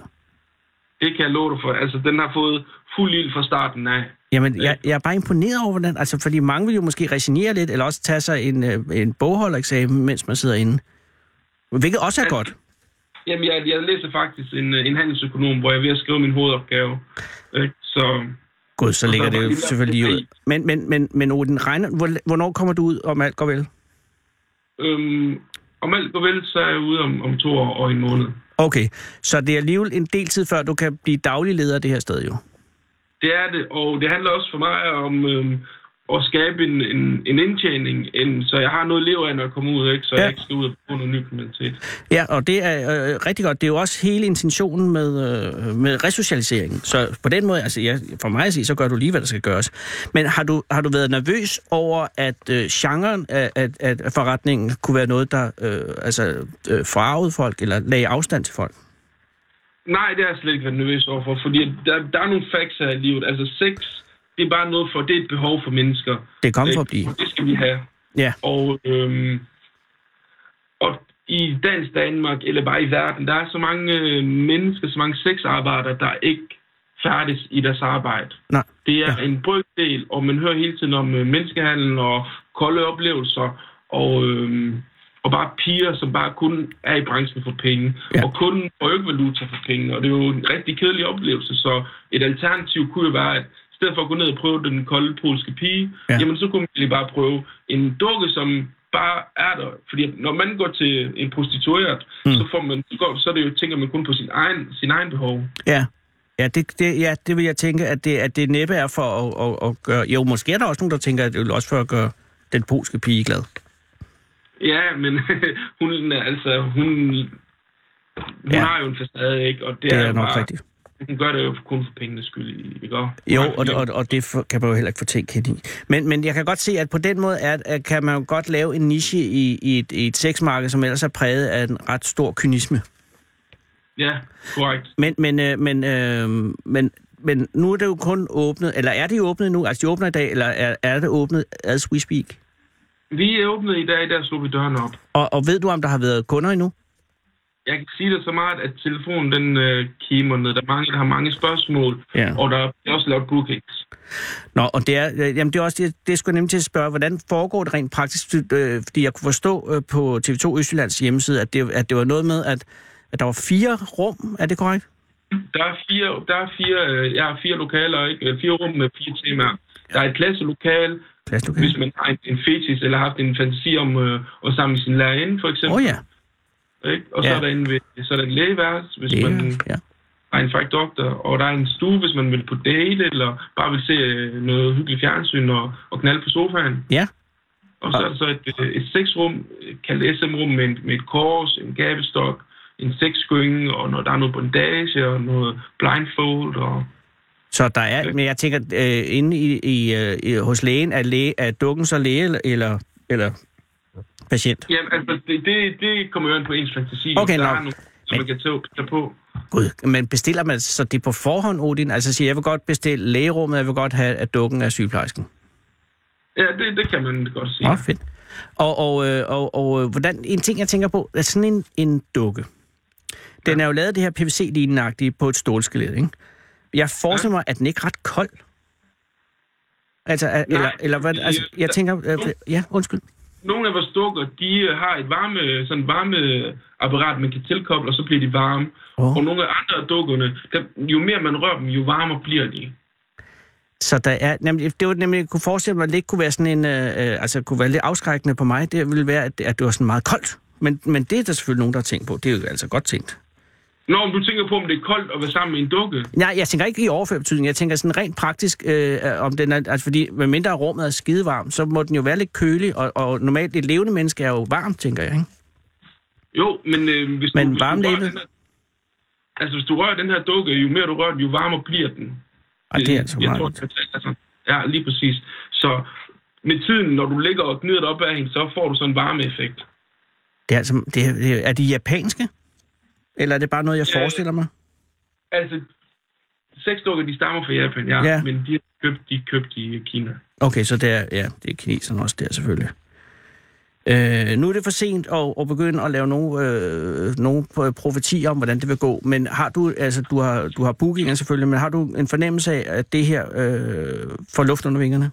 Det kan jeg love dig for. Altså, den har fået fuld ild fra starten af.
Jamen, jeg, jeg er bare imponeret over, hvordan, altså fordi mange vil jo måske resignere lidt, eller også tage sig en, øh, en bogholdereksamen, mens man sidder inde. Hvilket også er godt.
Jamen, jeg, jeg læser faktisk en, øh, en handelsøkonom, hvor jeg er ved at skrive min hovedopgave. Ikke? Så
Gud, så ligger
der
det
var
jo
lige-
selvfølgelig lige ud. Men, men, men, men Odin, regner, hvor- hvornår kommer du ud, om alt går vel?
øhm, om alt går vel, så er jeg ude om, om to år og en måned.
Okay, så det er alligevel en del tid før, du kan blive daglig leder af det her sted jo.
Det er det, og det handler også for mig om, øhm, at skabe en, en, en indtjening, end, så jeg har noget at leve af, når jeg kommer ud, ikke? så ja.
Ja.
jeg ikke skal ud og bruge noget ny kriminalitet.
Ja, og det er øh, rigtig godt. Det er jo også hele intentionen med, øh, med resocialiseringen. Så på den måde, altså ja, for mig at se, så gør du lige, hvad der skal gøres. Men har du, har du været nervøs over, at øh, genren af, af, af forretningen kunne være noget, der øh, altså, øh, forarvede folk, eller lagde afstand til folk?
Nej, det har jeg slet ikke været nervøs overfor, fordi der, der er nogle facts her i livet. Altså sex, det er bare noget for, det er et behov for mennesker.
Det kom
Ikke?
for at blive.
Og Det skal vi have.
Ja,
Og, øhm, og i dansk Danmark, eller bare i verden, der er så mange øh, mennesker, så mange sexarbejdere, der ikke færdes i deres arbejde.
nej.
Det er
Ja.
ja. en brygdel, og man hører hele tiden om øh, menneskehandel og kolde oplevelser, og, øh, og bare piger, som bare kun er i branchen for penge,
Ja.
ja. og kun får jo ikke valuta for penge, og det er jo en rigtig kedelig oplevelse, så et alternativ kunne jo være, at i stedet for at gå ned og prøve den kolde polske pige,
Ja.
ja. jamen så kunne man egentlig bare prøve en dukke, som bare er der. Fordi når man går til en prostitueret, mm. så, får man, så, går, så er det jo, tænker man kun på sin egen, sin egen behov.
Ja. Ja det, det, ja, det vil jeg tænke, at det, at det næppe er for at, at, at gøre... Jo, måske er der også nogen, der tænker, at det er også for at gøre den polske pige glad.
Ja, men hun er altså, hun, hun
Ja.
ja. har jo en facade, ikke? Og det,
Det er
jo
nok
bare,
rigtigt.
Hun gør det jo kun for pengenes skyld, ikke? Og-
Jo, og, og, og det for- kan man jo heller ikke få tænkt hende i. Men, men jeg kan godt se, at på den måde er, at kan man jo godt lave en niche i, i, et, i et sexmarked, som ellers er præget af en ret stor kynisme.
Ja, korrekt.
Men, men, øh, men, øh, men, men nu er det jo kun åbnet, eller er det åbnet nu? Altså, de åbner i dag, eller er, er det åbnet as we speak?
Vi er åbnet i dag, der slog vi døren op.
Og, og ved du, om der har været kunder endnu?
Jeg kan sige det så meget, at telefonen den øh, kimer ned. Der er mange, der har mange spørgsmål,
Ja.
og der er også lavet bookings.
Nå, og det er, øh, jamen det er også det, det skulle jeg nemlig til at spørge, hvordan foregår det rent praktisk? Øh, fordi jeg kunne forstå øh, på TV2 Østjyllands hjemmeside, at det, at det var noget med, at, at der var fire rum, er det korrekt?
Der er fire, der er fire, øh, jeg har fire lokaler, ikke? Øh, Fire rum med fire temaer. Der er et klasselokal,
Plastlokale.
hvis man har en, en fetis eller har haft en fantasi om øh, at samle sin lærerinde, for eksempel.
Åh oh, ja,
Ikke? Og ja.
Ja.
så er der en, ved- så er der en lægeværelse, hvis
det
man
er, ja.
har en fræk doktor. Og der er en stue, hvis man vil på date, eller bare vil se øh, noget hyggeligt fjernsyn og, og knalde på sofaen.
ja.
Og så er der så et, øh, et sexrum, øh, kaldt SM-rum, med, en- med et kors, en gabestok, en sexskynge, og når der er noget bondage, og noget blindfold, og...
Så der er, men jeg tænker, øh, inde i, i, øh, i, hos lægen, er, læge, er dukken så læge eller- eller, eller patient?
Jamen, altså, det, det, det kommer jo an på ens fantasi.
Okay,
der
nå.
er nogle, som man kan tage, tage på.
Gud, men bestiller man så det på forhånd, Odin? Altså siger, jeg vil godt bestille lægerummet, jeg vil godt have, at dukken er sygeplejersken.
Ja, det, det kan man godt sige.
Nå, fedt. Og, og, øh, og, og øh, hvordan, en ting, jeg tænker på, er sådan en, en dukke. Den er jo lavet af det her PVC-lignende på et stålskelet, ikke? Jeg forestiller mig, at den ikke er ret kold. Altså, er- eller, eller hvad, altså, jeg tænker, øh, ja, undskyld.
Nogle af vores dukker, de øh, har et varme, sådan varmeapparat, man kan tilkoble, og så bliver de varme.
Åh.
Oh. Og nogle af andre af dukkerne, der, jo mere man rører dem, jo varmere bliver de.
Så der er, nemlig, det var nemlig, jeg kunne forestille mig, at det ikke kunne være sådan en, øh, øh, altså kunne være lidt afskrækkende på mig, det ville være, at, at det var sådan meget koldt. Men, men det er der selvfølgelig nogen, der har tænkt på. Det er jo altså godt tænkt.
Nå, men du tænker på, om det er koldt at være sammen med en dukke?
Nej, jeg tænker ikke i overført betydning. Jeg tænker sådan rent praktisk, øh, om den er, altså fordi medmindre rummet er skidevarmt, så må den jo være lidt kølig, og, og normalt et levende menneske er jo varmt, tænker jeg, ikke?
Jo, men øh, hvis,
Men
du, hvis, du rører
varmelæbet?
den her, altså, hvis du rører den her dukke, jo mere du rører den, jo varmere bliver den.
Og det er altså
jeg
meget.
tror, det er altså, Ja, lige præcis. Så med tiden, når du ligger og gnider dig op ad hende, så får du sådan en varmeeffekt.
Det er, altså, det er, det er, er de japanske? Eller er det bare noget, jeg
Ja.
forestiller mig?
Altså, sexdukker, de stammer fra Japan, ja,
Ja.
ja. men de er købt, de er købt i Kina.
Okay, så det er, ja, det er kineserne også der selvfølgelig. Øh, nu er det for sent at, at begynde at lave nogle, øh, nogle pro- profetier om, hvordan det vil gå, men har du, altså du har, du har bookinger selvfølgelig, men har du en fornemmelse af, at det her øh, får luft under vingerne?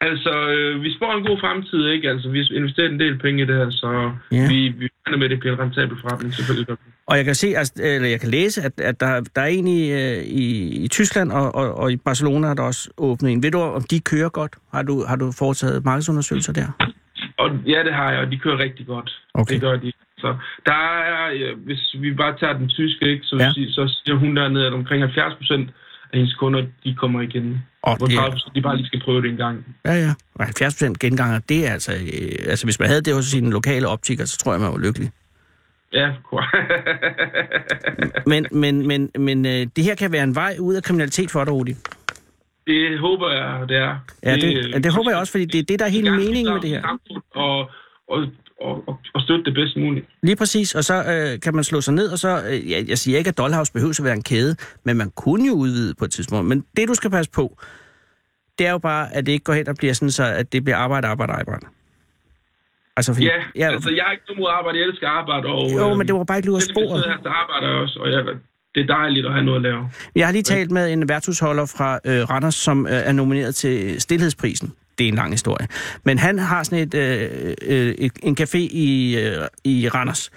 Altså, øh, vi spår en god fremtid, ikke? Altså, vi har investeret en del penge i det her, så
Ja.
ja. vi, vi regner med, at det bliver en rentabel forretning, selvfølgelig.
Og jeg kan se, altså, eller jeg kan læse, at, at der, der er en i, øh, i, i Tyskland og, og, og i Barcelona er der også åbnet en. Ved du, om de kører godt? Har du, har du foretaget markedsundersøgelser der?
Og ja, det har jeg, og de kører rigtig godt.
Okay.
Det gør de. Så der er, øh, hvis vi bare tager den tyske, ikke, så,
Ja.
ja. så siger hun dernede, at omkring 70 procent af hendes kunder, de kommer igen.
Og
Hvor
det er-
30 de bare lige skal prøve det en gang.
Ja, ja. Og 70 procent genganger, det er altså... Øh, altså, hvis man havde det hos sine lokale optiker, så tror jeg, man var lykkelig.
Ja, korrekt.
Men, men, men, men øh, det her kan være en vej ud af kriminalitet for dig, Rudi.
det håber jeg, det er.
Ja, det, det håber jeg også, fordi det er det, der er hele
gerne
meningen med
bidrage
det
til
her.
samfundet Og, og, og, og, og støtte det bedst muligt.
Lige præcis, og så øh, kan man slå sig ned, og så... Øh, jeg, jeg siger ikke, at Dollhouse behøver at være en kæde, men man kunne jo udvide på et tidspunkt. Men det, du skal passe på, det er jo bare, at det ikke går hen og bliver sådan, så at det bliver arbejde, arbejde, arbejde. Altså, fordi...
Ja, ja, altså jeg er ikke nogen mod arbejde, jeg elsker arbejde. Og, øh,
jo, men det var bare ikke lige ud af sporet.
Jeg arbejder jeg også, og jeg, det er dejligt at have noget at lave.
Jeg har lige talt med en værtshusholder fra øh, Randers, som øh, er nomineret til Stilhedsprisen. Det er en lang historie. Men han har sådan et, øh, øh, et, en café i, øh, i Randers.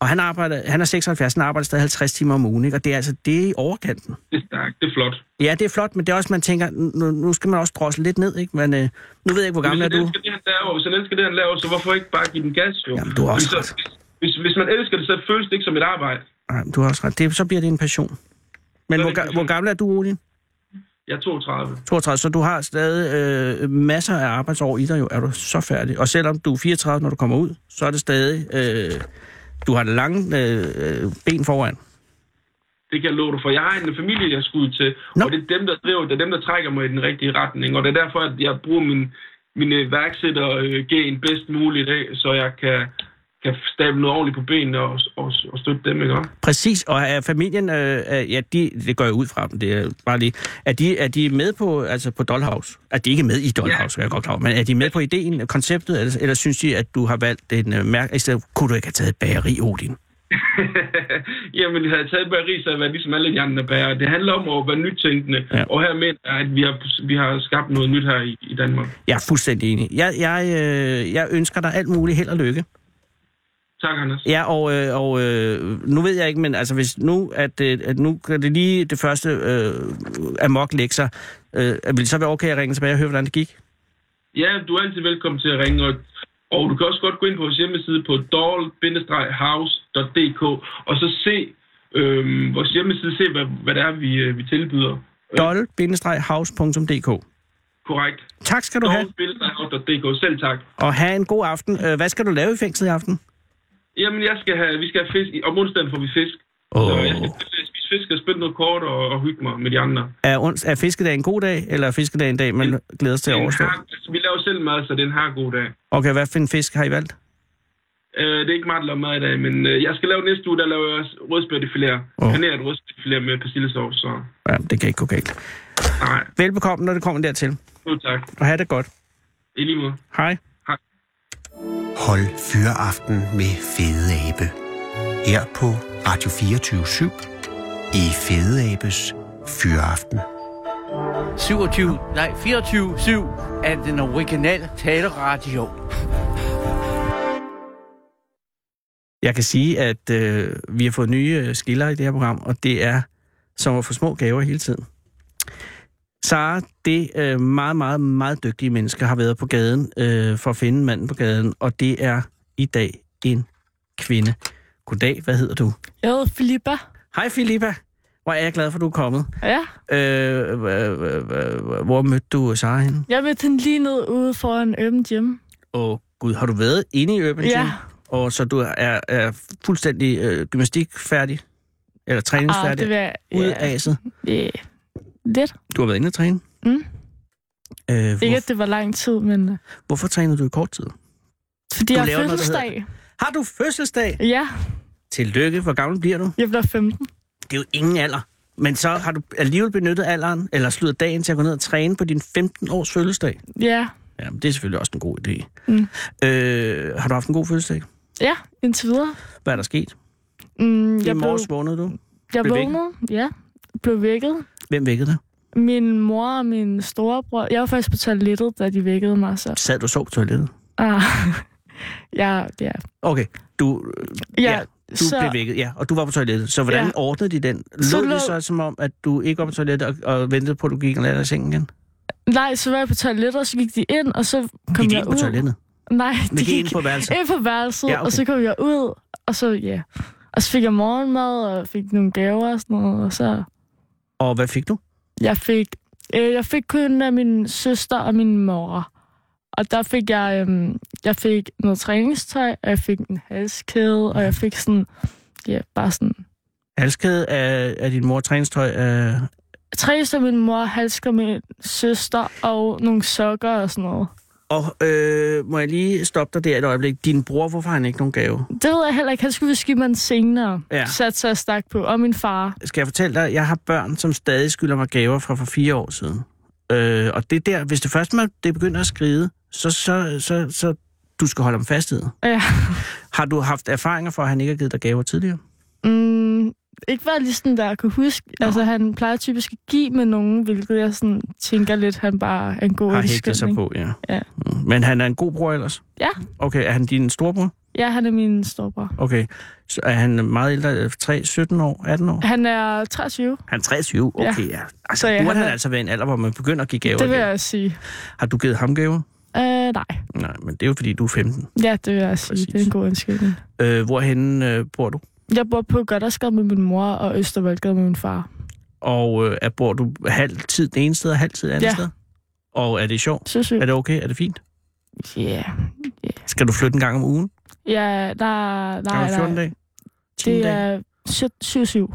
Og han, arbejder, han er 76, han arbejder stadig 50 timer om ugen. Ikke? Og det er altså det er i overkanten.
Det er stærkt, det er flot.
Ja, det er flot, men det er også, man tænker, nu, nu skal man også drosle lidt ned. Ikke? Men, øh, nu ved jeg ikke, hvor gammel er
hvis han
du?
elsker det, han laver, hvis han elsker det, han laver, så hvorfor ikke bare give den gas, jo?
Jamen, du har også
hvis,
ret.
Hvis, hvis man elsker det, så føles det ikke som et arbejde.
Nej, du har også ret. Det, så bliver det en passion. Men
er
hvor,
det en
ga- hvor
passion.
gammel er du, Olin?
Jeg er 32.
32, så du har stadig øh, masser af arbejdsår i dig, jo, er du så færdig. Og selvom du er 34, når du kommer ud, så er det stadig, øh, du har lange øh, ben foran.
Det kan jeg love dig for. Jeg har en familie, jeg skal ud til,
Nå.
og det er dem, der driver, det er dem, der trækker mig i den rigtige retning. Og det er derfor, at jeg bruger min, min iværksættergen bedst muligt, ikke? så jeg kan, kan stable noget ordentligt på benene og, og, og støtte dem, ikke også?
Præcis, og er familien, øh, er- ja, de, det går jeg ud fra dem, det er bare lige, er de, er de med på, altså på Dollhouse? Er de ikke med i Dollhouse, ja. jeg er godt klar over, men er de med på ideen, konceptet, eller, eller synes de, at du har valgt en øh, mærke, i stedet, kunne du ikke have taget et bageri, Odin?
Jamen, havde jeg taget bageri, så havde jeg været ligesom alle de andre bærer. Det handler om at være nytænkende,
Ja.
ja. og her med, at vi har, vi har skabt noget nyt her i, i Danmark.
Jeg er fuldstændig enig. Jeg, jeg, øh, jeg ønsker dig alt muligt held og lykke.
Tak, Anders.
Ja, og, øh, og øh, nu ved jeg ikke, men altså hvis nu, at, øh, at nu kan det lige det første øh, amok lægge sig, øh, vil det så være okay at ringe tilbage og høre, hvordan det gik?
Ja, du er altid velkommen til at ringe, og, og du kan også godt gå ind på vores hjemmeside på doll-house.dk og så se øhm, vores hjemmeside, se hvad, hvad det er, vi, øh, vi tilbyder.
doll-house.dk
Korrekt.
Tak skal du have,
doll-house.dk, selv tak.
og have en god aften. Øh, Hvad skal du lave i fængslet i aften?
Jamen, jeg skal have, vi skal have fisk. Om onsdagen får vi fisk.
Åh.
Så jeg skal spise fisk og spille noget kort og, og hygge mig med de andre.
Er, ons, er fiskedag en god dag, eller er fiskedag en dag, man glæder sig til at
Den
overstå?
har, altså, vi laver selv mad, så den har god dag.
Okay, hvad for en fisk har I valgt?
Øh, det er ikke mig, der laver mad i dag, men øh, jeg skal lave næste uge, der laver jeg også rødspættefiléer.
Åh.
Oh. Paneret rødspættefiléer med persillesauce, så
Ja, det kan ikke gå galt.
nej.
Velbekomme, når det kommer dertil,
Jo, tak.
og have det godt.
I lige måde.
Hej.
Hold Fyraften med Fede Abe. Her på Radio 24 i Fede Abes Fyraften.
27, nej 24-7 er den originale taleradio.
Jeg kan sige, at øh, vi har fået nye øh, skiller i det her program, og det er som at få små gaver hele tiden. Sara, det øh, meget, meget, meget dygtige menneske, har været på gaden øh, for at finde manden på gaden, og det er i dag en kvinde. Goddag, hvad hedder du?
Jeg hedder Filippa.
Hej Filippa, hvor er jeg glad for, at du er kommet.
Ja,
Øh, øh, øh, øh, øh, hvor mødte du Sara henne?
jeg mødte hende lige ned ude foran Urban Gym.
Åh gud, har du været inde i Urban Gym?
Ja.
Og så du er, er fuldstændig øh, gymnastikfærdig? Eller
Ah,
træningsfærdig?
det var...
ud
Ja,
af aset.
ja, lidt.
Du har været inde og træne.
Mm.
Øh, hvor,
Ikke, at det var lang tid, men... øh,
hvorfor trænede du i kort tid?
Fordi
Du
jeg
laver
har
noget, der
fødselsdag.
Har du fødselsdag?
Ja,
Tillykke. Hvor gammel bliver du?
jeg bliver 15.
Det er jo ingen alder. Men så har du alligevel benyttet alderen, eller slået dagen til at gå ned og træne på din 15-års fødselsdag.
Ja,
Jamen, det er selvfølgelig også en god idé.
Mm.
Øh, har du haft en god fødselsdag?
ja indtil videre.
Hvad er der sket?
Mm,
I
jeg blev,
morges vågnede du.
jeg
blev vækket.
vågnede, ja, blev vækket.
Hvem vækkede dig?
Min mor og min storebror... Jeg var faktisk på toilettet, da de vækkede mig, så...
Sad du og sov på toilettet?
Ah, ja, ja.
Okay, du, Ja, du så... blev vækket, ja, og du var på toilettet. Så hvordan
Ja.
ordnede de den? Lød
Så
så det
lå-
så som om, at du ikke var på toilettet og, og ventede på, at du gik og lagde dig i sengen igen?
Nej, så var jeg på toilettet, og så gik de ind, og så kom
Gik de
jeg
ind
ud.
på toilettet?
Nej,
Men
de
gik
gik
ind på værelset?
ind på værelset,
Ja,
ja,
okay.
okay. og så kom jeg ud, og så, ja. Og så fik jeg morgenmad, og fik nogle gaver og sådan noget, og så...
Og hvad fik du?
Jeg fik, øh, jeg fik kun af min søster og min mor. Og der fik jeg, øh, jeg fik noget træningstøj, og jeg fik en halskæde, og jeg fik sådan, ja, bare sådan
Halskæde af, af din mor træningstøj øh. af...
tre som min mor, halsker min søster og nogle sokker og sådan noget.
Og øh, må jeg lige stoppe dig der et øjeblik. Din bror, hvorfor har han ikke nogen gave?
Det ved jeg heller ikke. Han skulle vi skibbe mig senere.
Ja.
Ja. Sat sig og stak på. Og min far.
Skal jeg fortælle dig, jeg har børn, som stadig skylder mig gaver fra for fire år siden. Øh, og det der, hvis det først man, det begynder at skride, så, så, så, så du skal holde dem fast i det.
Ja.
Har du haft erfaringer for, at han ikke har givet dig gaver tidligere?
Mm, ikke var lige sådan der, jeg kunne huske. Nå. Altså, han plejer typisk at give med nogen, hvilket jeg sådan tænker lidt, han bare er en god
har hægtet sig
undskyldning.
på, ja.
Ja.
Mm. Men han er en god bror ellers?
Ja.
Okay, er han din storebror?
Ja, han er min storbror.
Okay. Så er han meget ældre, 3, 17 år, 18 år?
Han er 23,
Han er 23, okay, ja. Altså,
Så ja,
burde han,
han
han
er-
altså være i en alder, hvor man begynder at give gaver?
det vil
igen?
jeg sige.
Har du givet ham gaver?
Øh, nej.
Nej, men det er jo fordi, du er 15.
Ja, det vil jeg sige.
Præcis.
Det er en god undskyldning.
Øh, hvorhen øh, bor du?
Jeg bor på Goddersgade med min mor og Østervoldgade med min far.
Og øh, er- bor du halv tid det ene sted og halv tid det andet
Ja.
sted? Og er det sjovt?
Så sygt.
Er det okay? Er det fint?
Ja.
Skal du flytte en gang om ugen?
Ja, nej,
Gang om
nej,
14
nej.
dage? 10
Det
dage?
er 7-7.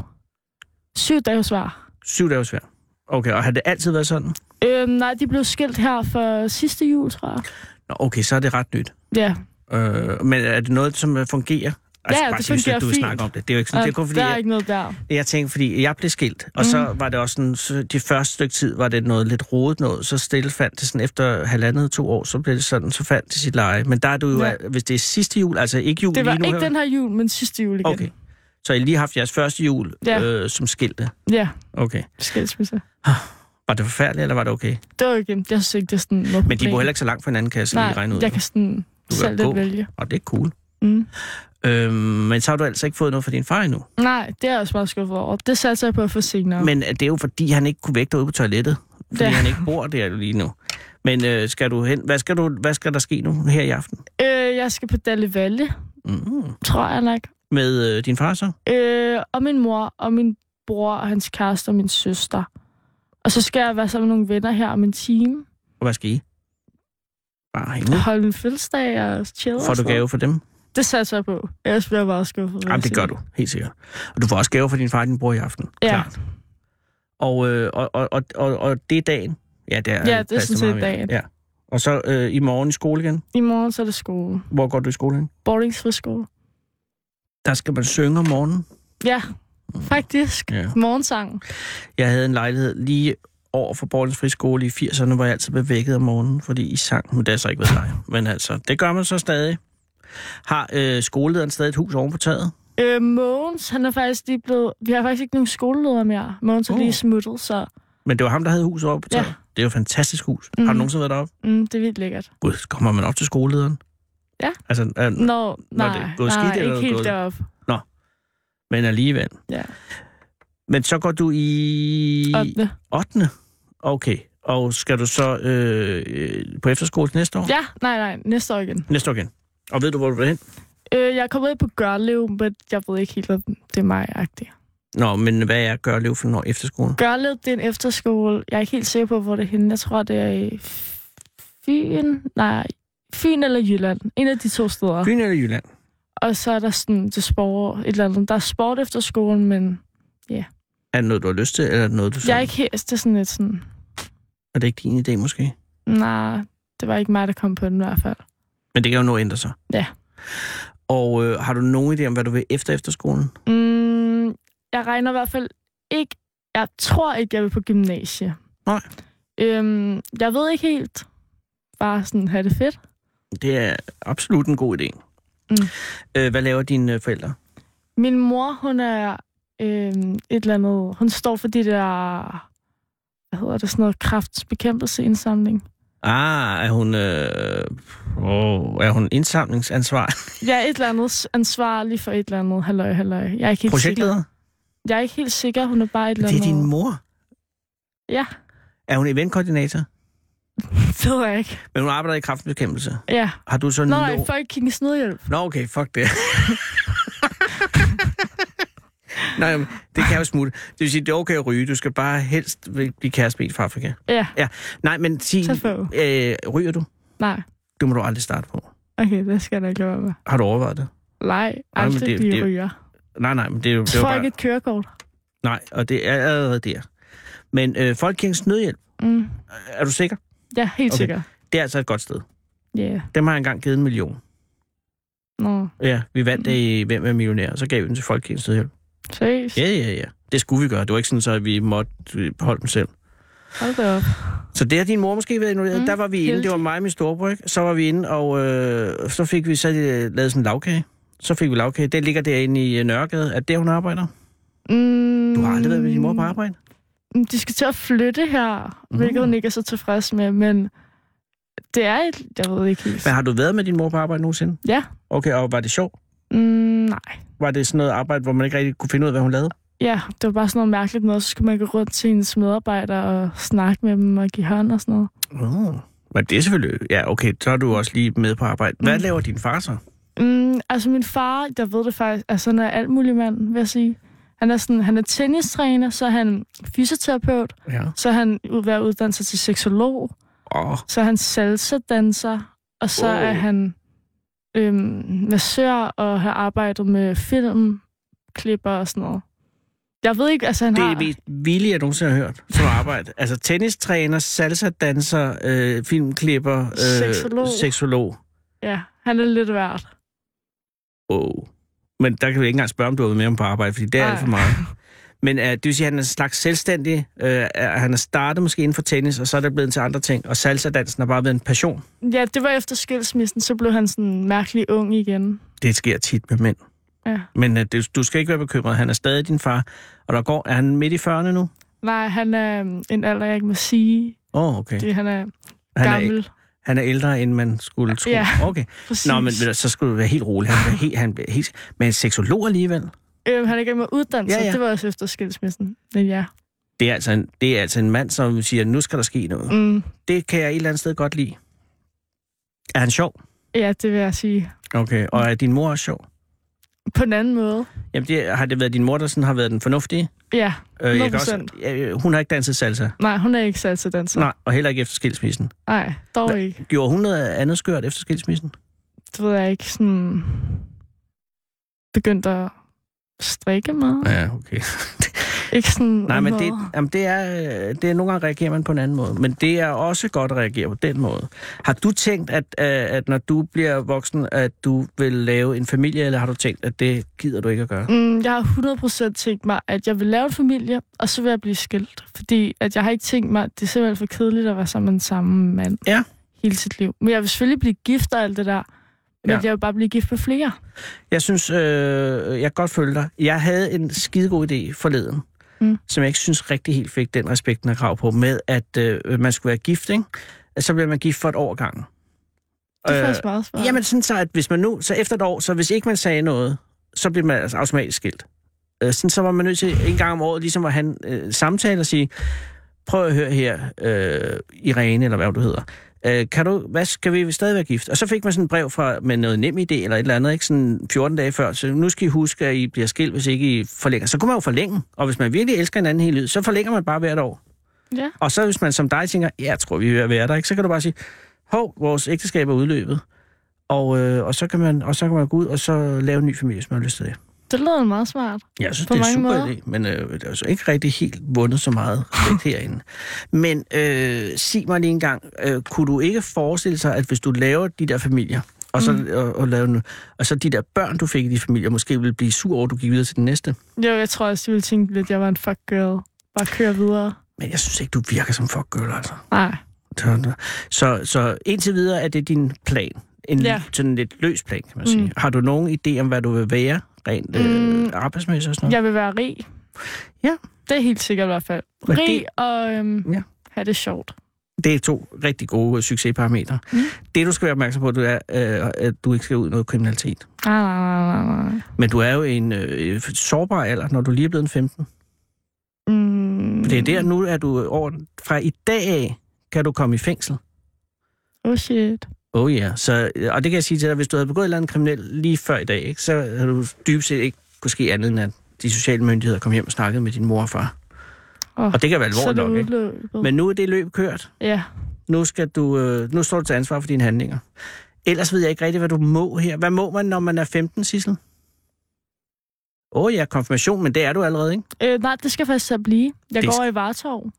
7 dage svar.
7 dage svært. Okay, og har det altid været sådan?
Øhm, nej, de blev skilt her for sidste jul, tror jeg.
Nå, okay, så er det ret nyt.
Ja,
Øh, men er det noget, som øh, fungerer?
Ja, det
jeg synes, at
fungerer
du vil
fint.
snakke om det. Det er jo ikke sådan,
og
det er kun fordi,
der er
jeg,
ikke Mm. noget der.
jeg tænkte, fordi jeg blev skilt, og så var det også sådan, så de første stykke tid var det noget lidt rodet noget, så stille fandt det sådan efter halvandet, to år, så blev det sådan, så fandt det sit leje. Men der er du jo,
Ja.
ja. hvis det er sidste jul, altså ikke jul
Det var
lige nu
ikke
her.
den her jul, men sidste jul igen.
Okay. Så I lige haft jeres første jul
Ja.
øh, som skilte.
Ja,
Okay.
skilsmisse.
Var det forfærdeligt, eller var det okay?
Det var ikke, jeg synes ikke, det er sådan noget
Men de
problem.
bor heller ikke så langt fra hinanden, kan jeg så lige
Nej,
regne ud.
jeg kan sådan
kan
selv
gå.
lidt vælge.
Og det er cool.
Mm.
Øhm, men så har du altså ikke fået noget fra din far endnu.
Nej, det er jeg også meget skuffet over. Det satser jeg på at få senere.
Men øh, det er jo fordi, han ikke kunne vække dig ude på toilettet. Fordi
Ja.
han ikke bor der lige nu. Men øh, skal du hen? Hvad skal, du, hvad skal der ske nu her i aften?
Øh, jeg skal på Dalle Valle,
Mm.
tror jeg nok.
Med øh, din far så?
Øh, og min mor, og min bror, og hans kæreste, og min søster. Og så skal jeg være sammen med nogle venner her om en time.
Og hvad skal I? Bare hænge ud.
Holde en fødselsdag og chill. og
Får du
sådan
gave for dem?
noget. Det satser jeg på. Ellers bliver jeg meget skuffet. vil
Jamen,
jeg
det
sige.
gør du, helt sikkert. Og du får også gave fra din far og din bror i aften.
Ja.
Klart. Og, øh, og, og, og, og, og det er dagen. Ja, det er,
Ja, det er
passer
sådan set
meget mere.
dagen.
Ja. Og så øh, i morgen i skole igen.
I morgen så er det skole.
Hvor går du i skole hen?
Boardingsfriskole.
Der skal man synge om morgenen.
Ja, faktisk.
Ja.
Morgensang.
Jeg havde en lejlighed lige over for Borgens Friskole i 80'erne, hvor jeg altid blev vækket om morgenen, fordi I sang. Men det er så ikke ved dig. Men altså, det gør man så stadig. Har øh, skolelederen stadig et hus oven på taget?
Øh, Mogens, han er faktisk lige blevet... Vi har faktisk ikke nogen skoleleder mere. Mogens er
Oh.
lige smuttet, så
Men det var ham, der havde huset oven på
Ja.
taget. Det er jo et fantastisk hus. Mm. Har du
Mhm.
nogensinde været deroppe?
mm, det er vildt lækkert.
Gud, så kommer man op til skolelederen?
Ja.
Altså, øh,
Nå, nej,
det er
nej,
gået skidt, eller er
ikke
det
helt
gået-
deroppe.
men alligevel.
Ja.
Men så går du i...
Ottende.
8. Okay. Og skal du så øh, øh, på efterskole til næste år?
Ja, nej, nej, næste år igen.
Næste år igen. Og ved du, hvor du vil hen?
Øh, jeg er kommet ind på Gørlev, men jeg ved ikke helt, hvad det er mig-agtigt.
Nå, men hvad er gør liv for når efterskolen?
Gørlev, det er en efterskole. Jeg er ikke helt sikker på, hvor det er henne. Jeg tror, det er i Fyn. Nej, Fyn eller Jylland. En af de to steder.
Fyn eller Jylland?
Og så er der sådan til sport, et eller andet. Der er sport efter skolen, men
Er det noget, du har lyst til, eller er det noget, du
jeg er
sådan,
ikke helt... Det er sådan lidt sådan...
er det ikke din idé måske?
Nej, det var ikke mig, der kom på den i hvert fald.
Men det kan jo nå at ændre sig.
Ja.
Og øh, har du nogen idé om, hvad du vil efter efterskolen?
Mm, jeg regner i hvert fald ikke... Jeg tror ikke, jeg vil på gymnasie.
Nej.
Øhm, jeg ved ikke helt. Bare sådan have det fedt.
Det er absolut en god idé.
Mm.
Øh, hvad laver dine øh, forældre?
Min mor, hun er øh, et eller andet... Hun står for de der... Hvad hedder det? Sådan noget kraftbekæmpelseindsamling.
Ah, er hun, øh, oh, er hun indsamlingsansvar?
Jeg er et eller andet ansvarlig for et eller andet. Halløj, halløj. Jeg er ikke helt sikker.
Projektleder?
Jeg er ikke helt sikker. Hun er bare et eller
Det er
andet...
din mor.
Ja,
Er hun eventkoordinator?
det ved jeg ikke.
Men hun arbejder i kraftbekæmpelse.
Ja.
Har du så
Nå,
no-
nej, Folkekirkens Nødhjælp.
Nå, okay, fuck det. Nej, men det kan jo smutte. Det vil sige, det er okay at ryge. Du skal bare helst blive kærestebil fra Afrika.
Ja,
Ja, nej, men sig,
Tæt på.
øh, ryger du?
nej.
Det må du aldrig starte på.
Okay, det skal jeg da ikke lade være med.
Har du overvejet det?
Nej,
men
aldrig
det-
det, blive
det-
det, ryger.
Nej, nej, men det er jo, det
Det
er jo
Får
bare...
ikke et kørekort.
Nej, og det er allerede der. Men øh, Folkekirkens Nødhjælp,
Mm.
er du sikker?
Ja, helt
Okay.
okay. sikker.
Det er altså et godt sted.
Ja, yeah.
Dem har jeg engang givet en million.
nå.
Ja, vi vandt det i Hvem er millionær, og så gav vi den til Folkekirkens Nødhjælp.
Seriøst?
Ja, ja, ja. Det skulle vi gøre. Det var ikke sådan, så vi måtte øh, beholde dem selv.
Hold da op.
Så det har din mor måske været involveret. Mm,
Mm,
der var vi inde, det
heldig.
var mig og min storebror, ikke? Så var vi inde, og øh, så fik vi så, øh, lavet sådan en lavkage. Så fik vi lavkage. Det ligger derinde i øh, Nørregade. Er det, der, hun arbejder?
Mm.
Du har aldrig været med din mor på arbejde?
Mm, De skal til at flytte her, mm. hvilket hun ikke er så tilfreds med, men det er et... Jeg ved ikke helt.
Men har du været med din mor på arbejde nogensinde?
Ja.
Okay, og var det sjovt?
Mm, nej.
Var det sådan noget arbejde, hvor man ikke rigtig kunne finde ud af, hvad hun lavede?
Ja, det var bare sådan noget mærkeligt noget. Så skulle man gå rundt til hendes medarbejdere og snakke med dem og give hånd og sådan noget.
Oh. Men det er selvfølgelig... Ja, okay, så er du også lige med på arbejde. Hvad mm.
Mm.
laver din far så?
Mm, altså min far, der ved det faktisk, altså han er alt mulig mand, vil jeg sige. Han er, sådan, han er tennistræner, så er han fysioterapeut,
Ja.
så er han ud- ved at uddanne sig til seksolog,
Åh, oh,
så er han salsa-danser, og så
Wow.
oh. er han øhm, massør og har arbejdet med film, klipper og sådan noget. Jeg ved ikke, altså han
det er
har...
det mest vilde, jeg nogensinde har hørt som arbejde. altså tennistræner, salsa-danser, øh, filmklipper... Øh,
Seksolog.
Seksolog.
Ja, han er lidt værd.
Wow. Men der kan vi ikke engang spørge, om du har været med ham på arbejde, fordi det er
Nej.
alt for meget. Men øh, det vil sige, at han er en slags selvstændig. Øh, er- han er startet måske inden for tennis, og så er det blevet til andre ting. Og salsa-dansen har bare været en passion.
Ja, det var efter skilsmissen, så blev han sådan mærkelig ung igen.
Det sker tit med mænd.
Ja.
Men øh, det, du skal ikke være bekymret. Han er stadig din far. Og der går, er han midt i 40'erne nu?
Nej, han er øhm, en alder, jeg ikke må sige.
Åh, oh, okay.
Det, han er
Han er,
gammel.
ikke- han er ældre, end man skulle tro.
Ja.
Okay.
Præcis.
Nå, men ved du, så skulle du være helt rolig. Han er helt, han bliver helt, men en seksolog alligevel.
øhm, han er i gang med at uddanne
Ja,
sig.
ja.
Det var også efter skilsmissen. Men ja.
Det er, altså en, det er altså en mand, som siger, nu skal der ske noget. Mm.
Mm,
Det kan jeg et eller andet sted godt lide. Er han sjov?
ja, det vil jeg sige.
Okay. Og er din mor også sjov?
På en anden måde.
Jamen, det, har det været din mor, der sådan har været den fornuftige?
Ja,
Øh, jeg kan
100%.
øh, hun har ikke danset salsa.
nej, hun er ikke salsa-danser.
Nej, og heller ikke efter skilsmissen.
Nej, dog
Hva-
ikke.
Gjorde hun noget andet skørt efter skilsmissen?
Det ved jeg ikke. Sådan... Begyndt at strikke meget. Ja.
okay.
Ikke sådan...
Nej, men det,
noget.
jamen det, er, øh, det er nogle gange reagerer man på en anden måde, men det er også godt at reagere på den måde. Har du tænkt, at, øh, at når du bliver voksen, at du vil lave en familie, eller har du tænkt, at det gider du ikke at gøre?
Mm, jeg har 100% tænkt mig, at jeg vil lave en familie, og så vil jeg blive skilt. Fordi at jeg har ikke tænkt mig, at det er simpelthen for kedeligt at være sammen med den samme mand
Ja.
hele sit liv. Men jeg vil selvfølgelig blive gift og alt det der. Men
Ja.
ja. jeg vil bare blive gift med flere.
Jeg synes, øh, jeg kan godt følge dig. Jeg havde en skidegod idé forleden, mm.
Mm.
som jeg ikke synes rigtig helt fik den respekt, den har krav på, med at øh, man skulle være gift, ikke? Så bliver man gift for et år gangen.
Det er øh, faktisk meget smart.
Jamen sådan så, at hvis man nu, så efter et år, så hvis ikke man sagde noget, så bliver man altså automatisk skilt. Øh, Sådan så var man nødt til en gang om året, ligesom at han øh, samtale og sige, prøv at høre her, øh, Irene, eller hvad du hedder, øh, kan du, hvad skal vi stadig være gift? Og så fik man sådan et brev fra, med noget nem idé eller et eller andet, ikke? Sådan 14 dage før, så nu skal I huske, at I bliver skilt, hvis ikke I forlænger. Så kunne man jo forlænge, og hvis man virkelig elsker hinanden hele livet, så forlænger man bare hvert år.
Ja.
Og så hvis man som dig tænker, ja, jeg tror, vi er ved at være der, ikke? så kan du bare sige, hov, vores ægteskab er udløbet. Og, øh, og, så kan man, og så kan man gå ud og så lave en ny familie, hvis man har lyst til det.
Det lyder meget smart.
Jeg synes,
På
det er en
mange
super
måder.
idé, men øh, det er altså ikke rigtig helt vundet så meget lidt herinde. Men øh, sig mig lige en gang, øh, kunne du ikke forestille sig, at hvis du laver de der familier, og så, mm. og, og, laver, nu- og så de der børn, du fik i de familier, måske ville blive sur over, at du gik videre til den næste?
Jo, jeg tror også, de ville tænke lidt, at jeg var en fuck girl. Bare køre videre.
Men jeg synes ikke, du virker som fuck girl, altså.
Nej.
Så, så indtil videre er det din plan. En ja.
Ja.
sådan lidt løs plan, kan man sige. Mm. Har du nogen idé om, hvad du vil være rent øh,
Mm.
arbejdsmæssigt og sådan noget?
Jeg vil være rig.
Ja.
Det er helt sikkert i hvert fald.
Men
Rig
det-
og øhm,
Ja.
ja. have det sjovt.
Det er to rigtig gode succesparametre. Mm.
Mm.
Det, du skal være opmærksom på, det er, øh, at du ikke skal ud i noget kriminalitet.
Nej, nej, nej, nej, nej.
Men du er jo i en øh, sårbar alder, når du lige er blevet en 15.
Mm.
Det er der nu, at du over, fra i dag af kan du komme i fængsel.
Oh shit.
Oh ja, yeah. Så, øh, og det kan jeg sige til dig, hvis du havde begået et eller andet kriminelt lige før i dag, ikke, så havde du dybest set ikke kunne ske andet end at de sociale myndigheder kom hjem og snakkede med din mor og far.
Åh,
Og det kan være
så er
alvorligt
det
nok, ikke?
udløbet.
Men nu er det løb kørt.
Ja,
Nu, skal du, øh, nu står du til ansvar for dine handlinger. Ellers ved jeg ikke rigtigt, hvad du må her. Hvad må man, når man er 15, Sissel? Åh oh, ja, konfirmation, men det er du allerede, ikke?
øh, nej, det skal faktisk så blive. Jeg
Det-
går i Vartov.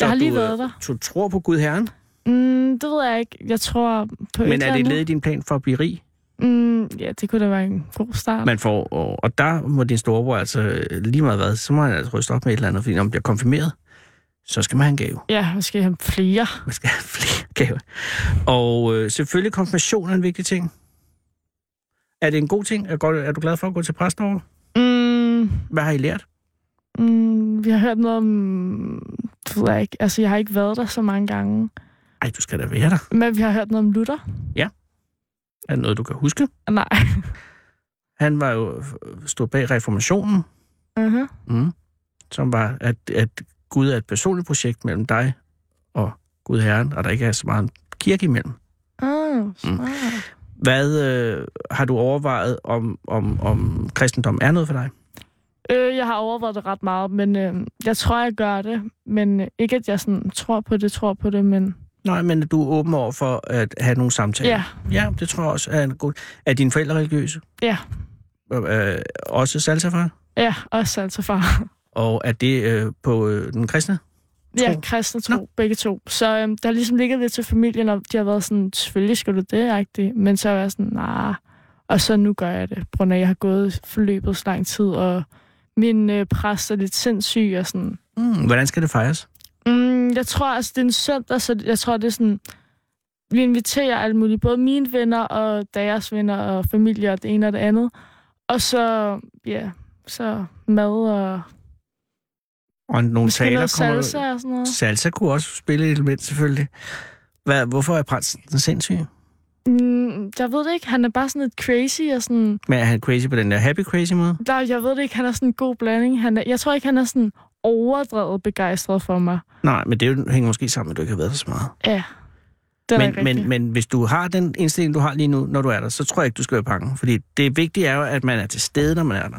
Jeg har lige
du, øh,
været der.
Du tror på Gud Herren,
Mm, det ved jeg ikke. Jeg tror på et
men er
eller
det et
andet.
led i din plan for at blive rig?
Mm, ja, det kunne da være en god start.
Man får, og, og der må din storebror altså øh, lige meget hvad, så må han altså ryste op med et eller andet, fordi når man bliver konfirmeret, så skal man have en gave.
Ja, måske have flere.
Man skal have flere gaver. Og øh, selvfølgelig konfirmation er en vigtig ting. Er det en god ting? Er, godt, er du glad for at gå til præstover?
Mm,
Hvad har I lært?
mm, vi har hørt noget om... Det ved jeg ikke. Altså, jeg har ikke været der så mange gange.
Ej, du skal da være der.
Men vi har hørt noget om Luther.
Er det noget, du kan huske?
Ah, Nej.
Han var jo øh, stod bag reformationen,
Uh-huh.
mm. som var, at, at Gud er et personligt projekt mellem dig og Gud Herren, og der ikke er så meget en kirke imellem. Mm.
Ah, smart.
Hvad øh, har du overvejet, om, om, om kristendom er noget for dig?
Øh, jeg har overvejet det ret meget, men øh, jeg tror, jeg gør det. Men øh, ikke, at jeg sådan, tror på det, tror på det, men...
Nej, men du er åben over for at have nogle samtaler.
Ja,
ja det tror jeg også er en god... Er dine forældre religiøse?
Ja.
Øh, også salsafar?
ja, også altså far.
Og er det øh, på øh, den kristne?
Ja,
Tro.
kristne tro, Nå. begge to. Så øhm, der har ligesom ligget lidt til familien, og de har været sådan, selvfølgelig skal du det, -agtigt. men så er jeg sådan, nej, og så nu gør jeg det, på grund af, at jeg har gået forløbet så lang tid, og min øh, præst er lidt sindssyg, og sådan,
Mm, hvordan skal det fejres?
Mm, jeg tror, altså, det er en søndag, så jeg tror, det er sådan... Vi inviterer alle mulige, både mine venner og deres venner og familie og det ene og det andet. Og så, ja, så mad og
Og nogle
måske
taler
noget
kommer...
salsa og sådan noget.
Mm. Salsa kunne også spille et element, selvfølgelig. Hvad, hvorfor er præsten sindssyg?
Mm, jeg ved det ikke, han er bare sådan lidt crazy og sådan...
Men er han crazy på den der happy crazy måde?
Der, jeg ved det ikke, han er sådan en god blanding. Han er, jeg tror ikke, han er sådan overdrevet begejstret for mig.
Nej, men det er jo- hænger måske sammen med, at du ikke har været der så meget.
Ja, det er
Men,
da
men,
rigtigt.
men hvis du har den indstilling, du har lige nu, når du er der, så tror jeg ikke, du skal være bange. Fordi det vigtige er jo, at man er til stede, når man er der.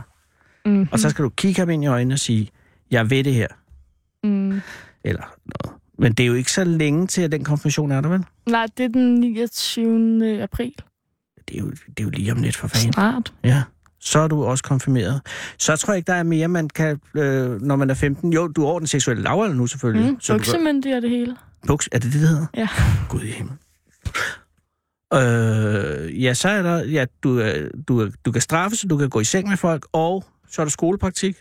mm,
Og så skal du kigge ham ind i øjnene og sige, jeg ved det her,
mm.
eller noget. Men det er jo ikke så længe til, at den konfirmation er der, vel?
Nej, det er den 29. april.
Det er jo, det er jo lige om lidt for fanden.
Snart.
Ja. Så er du også konfirmeret. Så tror jeg ikke, der er mere, man kan, øh, når man er 15. Jo, du er over den seksuelle lavalder nu selvfølgelig.
Mm,
så du kan,
buksemyndig og det hele.
buks, er det det, det hedder?
Ja.
Gud i himmel. Øh, ja, så er der, ja, du, er- du, er- du kan straffes, og du kan gå i seng med folk, og så er der skolepraktik.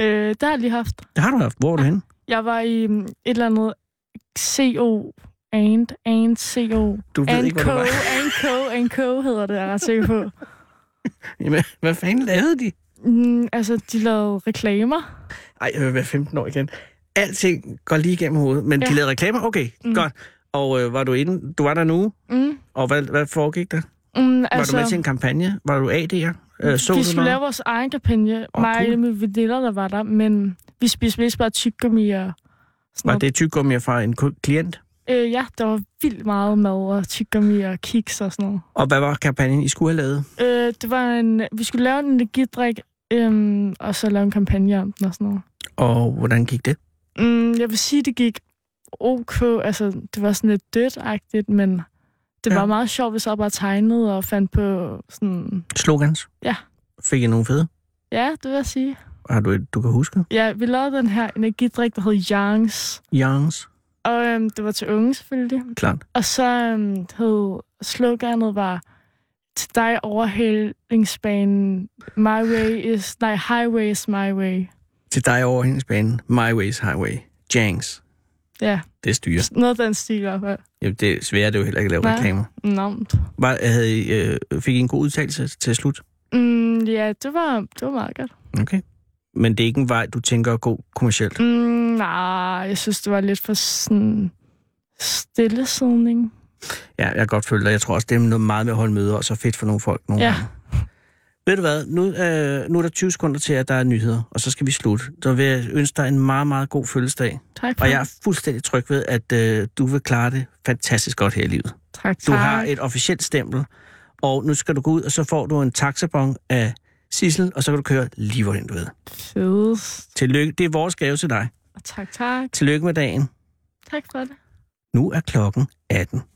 Øh, der har jeg lige haft.
Det har du haft. Hvor er du henne?
Jeg var i mm, et eller andet CO and, and CO.
Du ved
and
ikke, hvor du var.
and co, and co hedder det, jeg er ret sikker på.
Jamen, hvad fanden lavede de?
Mm, altså, de lavede reklamer.
Ej, jeg vil være 15 år igen. Alting går lige igennem hovedet, men ja. de
Ja.
lavede reklamer? Okay, mm. godt. Og øh, var du inde? Du var der nu,
Mm,
og hvad, hvad foregik der?
mm,
Altså, var du med til
altså,
en kampagne? Var du AD'er? Øh, så
vi
du
skulle lave
noget?
vores egen kampagne.
Åh,
Oh, mig
cool.
og mine veninder, der var der, men vi spiste mest bare tyggegummi og sådan
Var
noget.
det tyggegummi fra en ku- klient?
Øh, ja, der var vildt meget mad og tyggegummi og kiks og sådan noget.
Og hvad var kampagnen, I skulle have lavet?
Øh, det var en, vi skulle lave en energidrik, øhm, og så lave en kampagne om den og sådan noget.
Og hvordan gik det?
Mm, jeg vil sige, det gik ok. Altså, det var sådan lidt dødt men det
Ja.
ja. var meget sjovt, hvis jeg bare tegnede og fandt på sådan...
Slogans?
Ja.
Fik I nogle fede?
Ja, det vil jeg sige.
Har du et, du kan huske?
Ja, vi lavede den her energidrik, der hed Youngs.
Youngs?
Og øhm, det var til unge, selvfølgelig.
Klart.
Og så øhm, hed sloganet var til dig overhældingsbanen. My way is... Nej, highway is my way.
Til dig over hendes bane. My ways highway. Jangs.
Ja,
Det styrer.
noget af den stil i hvert fald.
Jamen, det er svært, det er jo heller ikke at lave
Nej.
reklamer.
Nå.
Var, havde I, øh, fik I en god udtalelse til slut?
Mm, ja, det var, det var meget godt.
Okay. Men det er ikke en vej, du tænker at gå kommercielt.
Mm, nej, jeg synes, det var lidt for sådan stillesidning.
Ja, jeg kan godt følge dig. Jeg tror også, det er noget meget med at holde møder, og så fedt for nogle folk nogle
Ja.
gange. Ved du hvad, nu, øh, nu er der 20 sekunder til, at der er nyheder, og så skal vi slutte. Så vil jeg ønske dig en meget, meget god fødselsdag.
Tak for
Og jeg er fuldstændig tryg ved, at øh, du vil klare det fantastisk godt her i livet.
tak,
Du
tak.
har et officielt stempel, og nu skal du gå ud, og så får du en taxabon af Sissel, og så kan du køre lige, hvor du ved.
Fedest.
Tillykke. Det er vores gave til dig.
Og tak, tak.
Tillykke med dagen.
Tak for det.
Nu er klokken 18.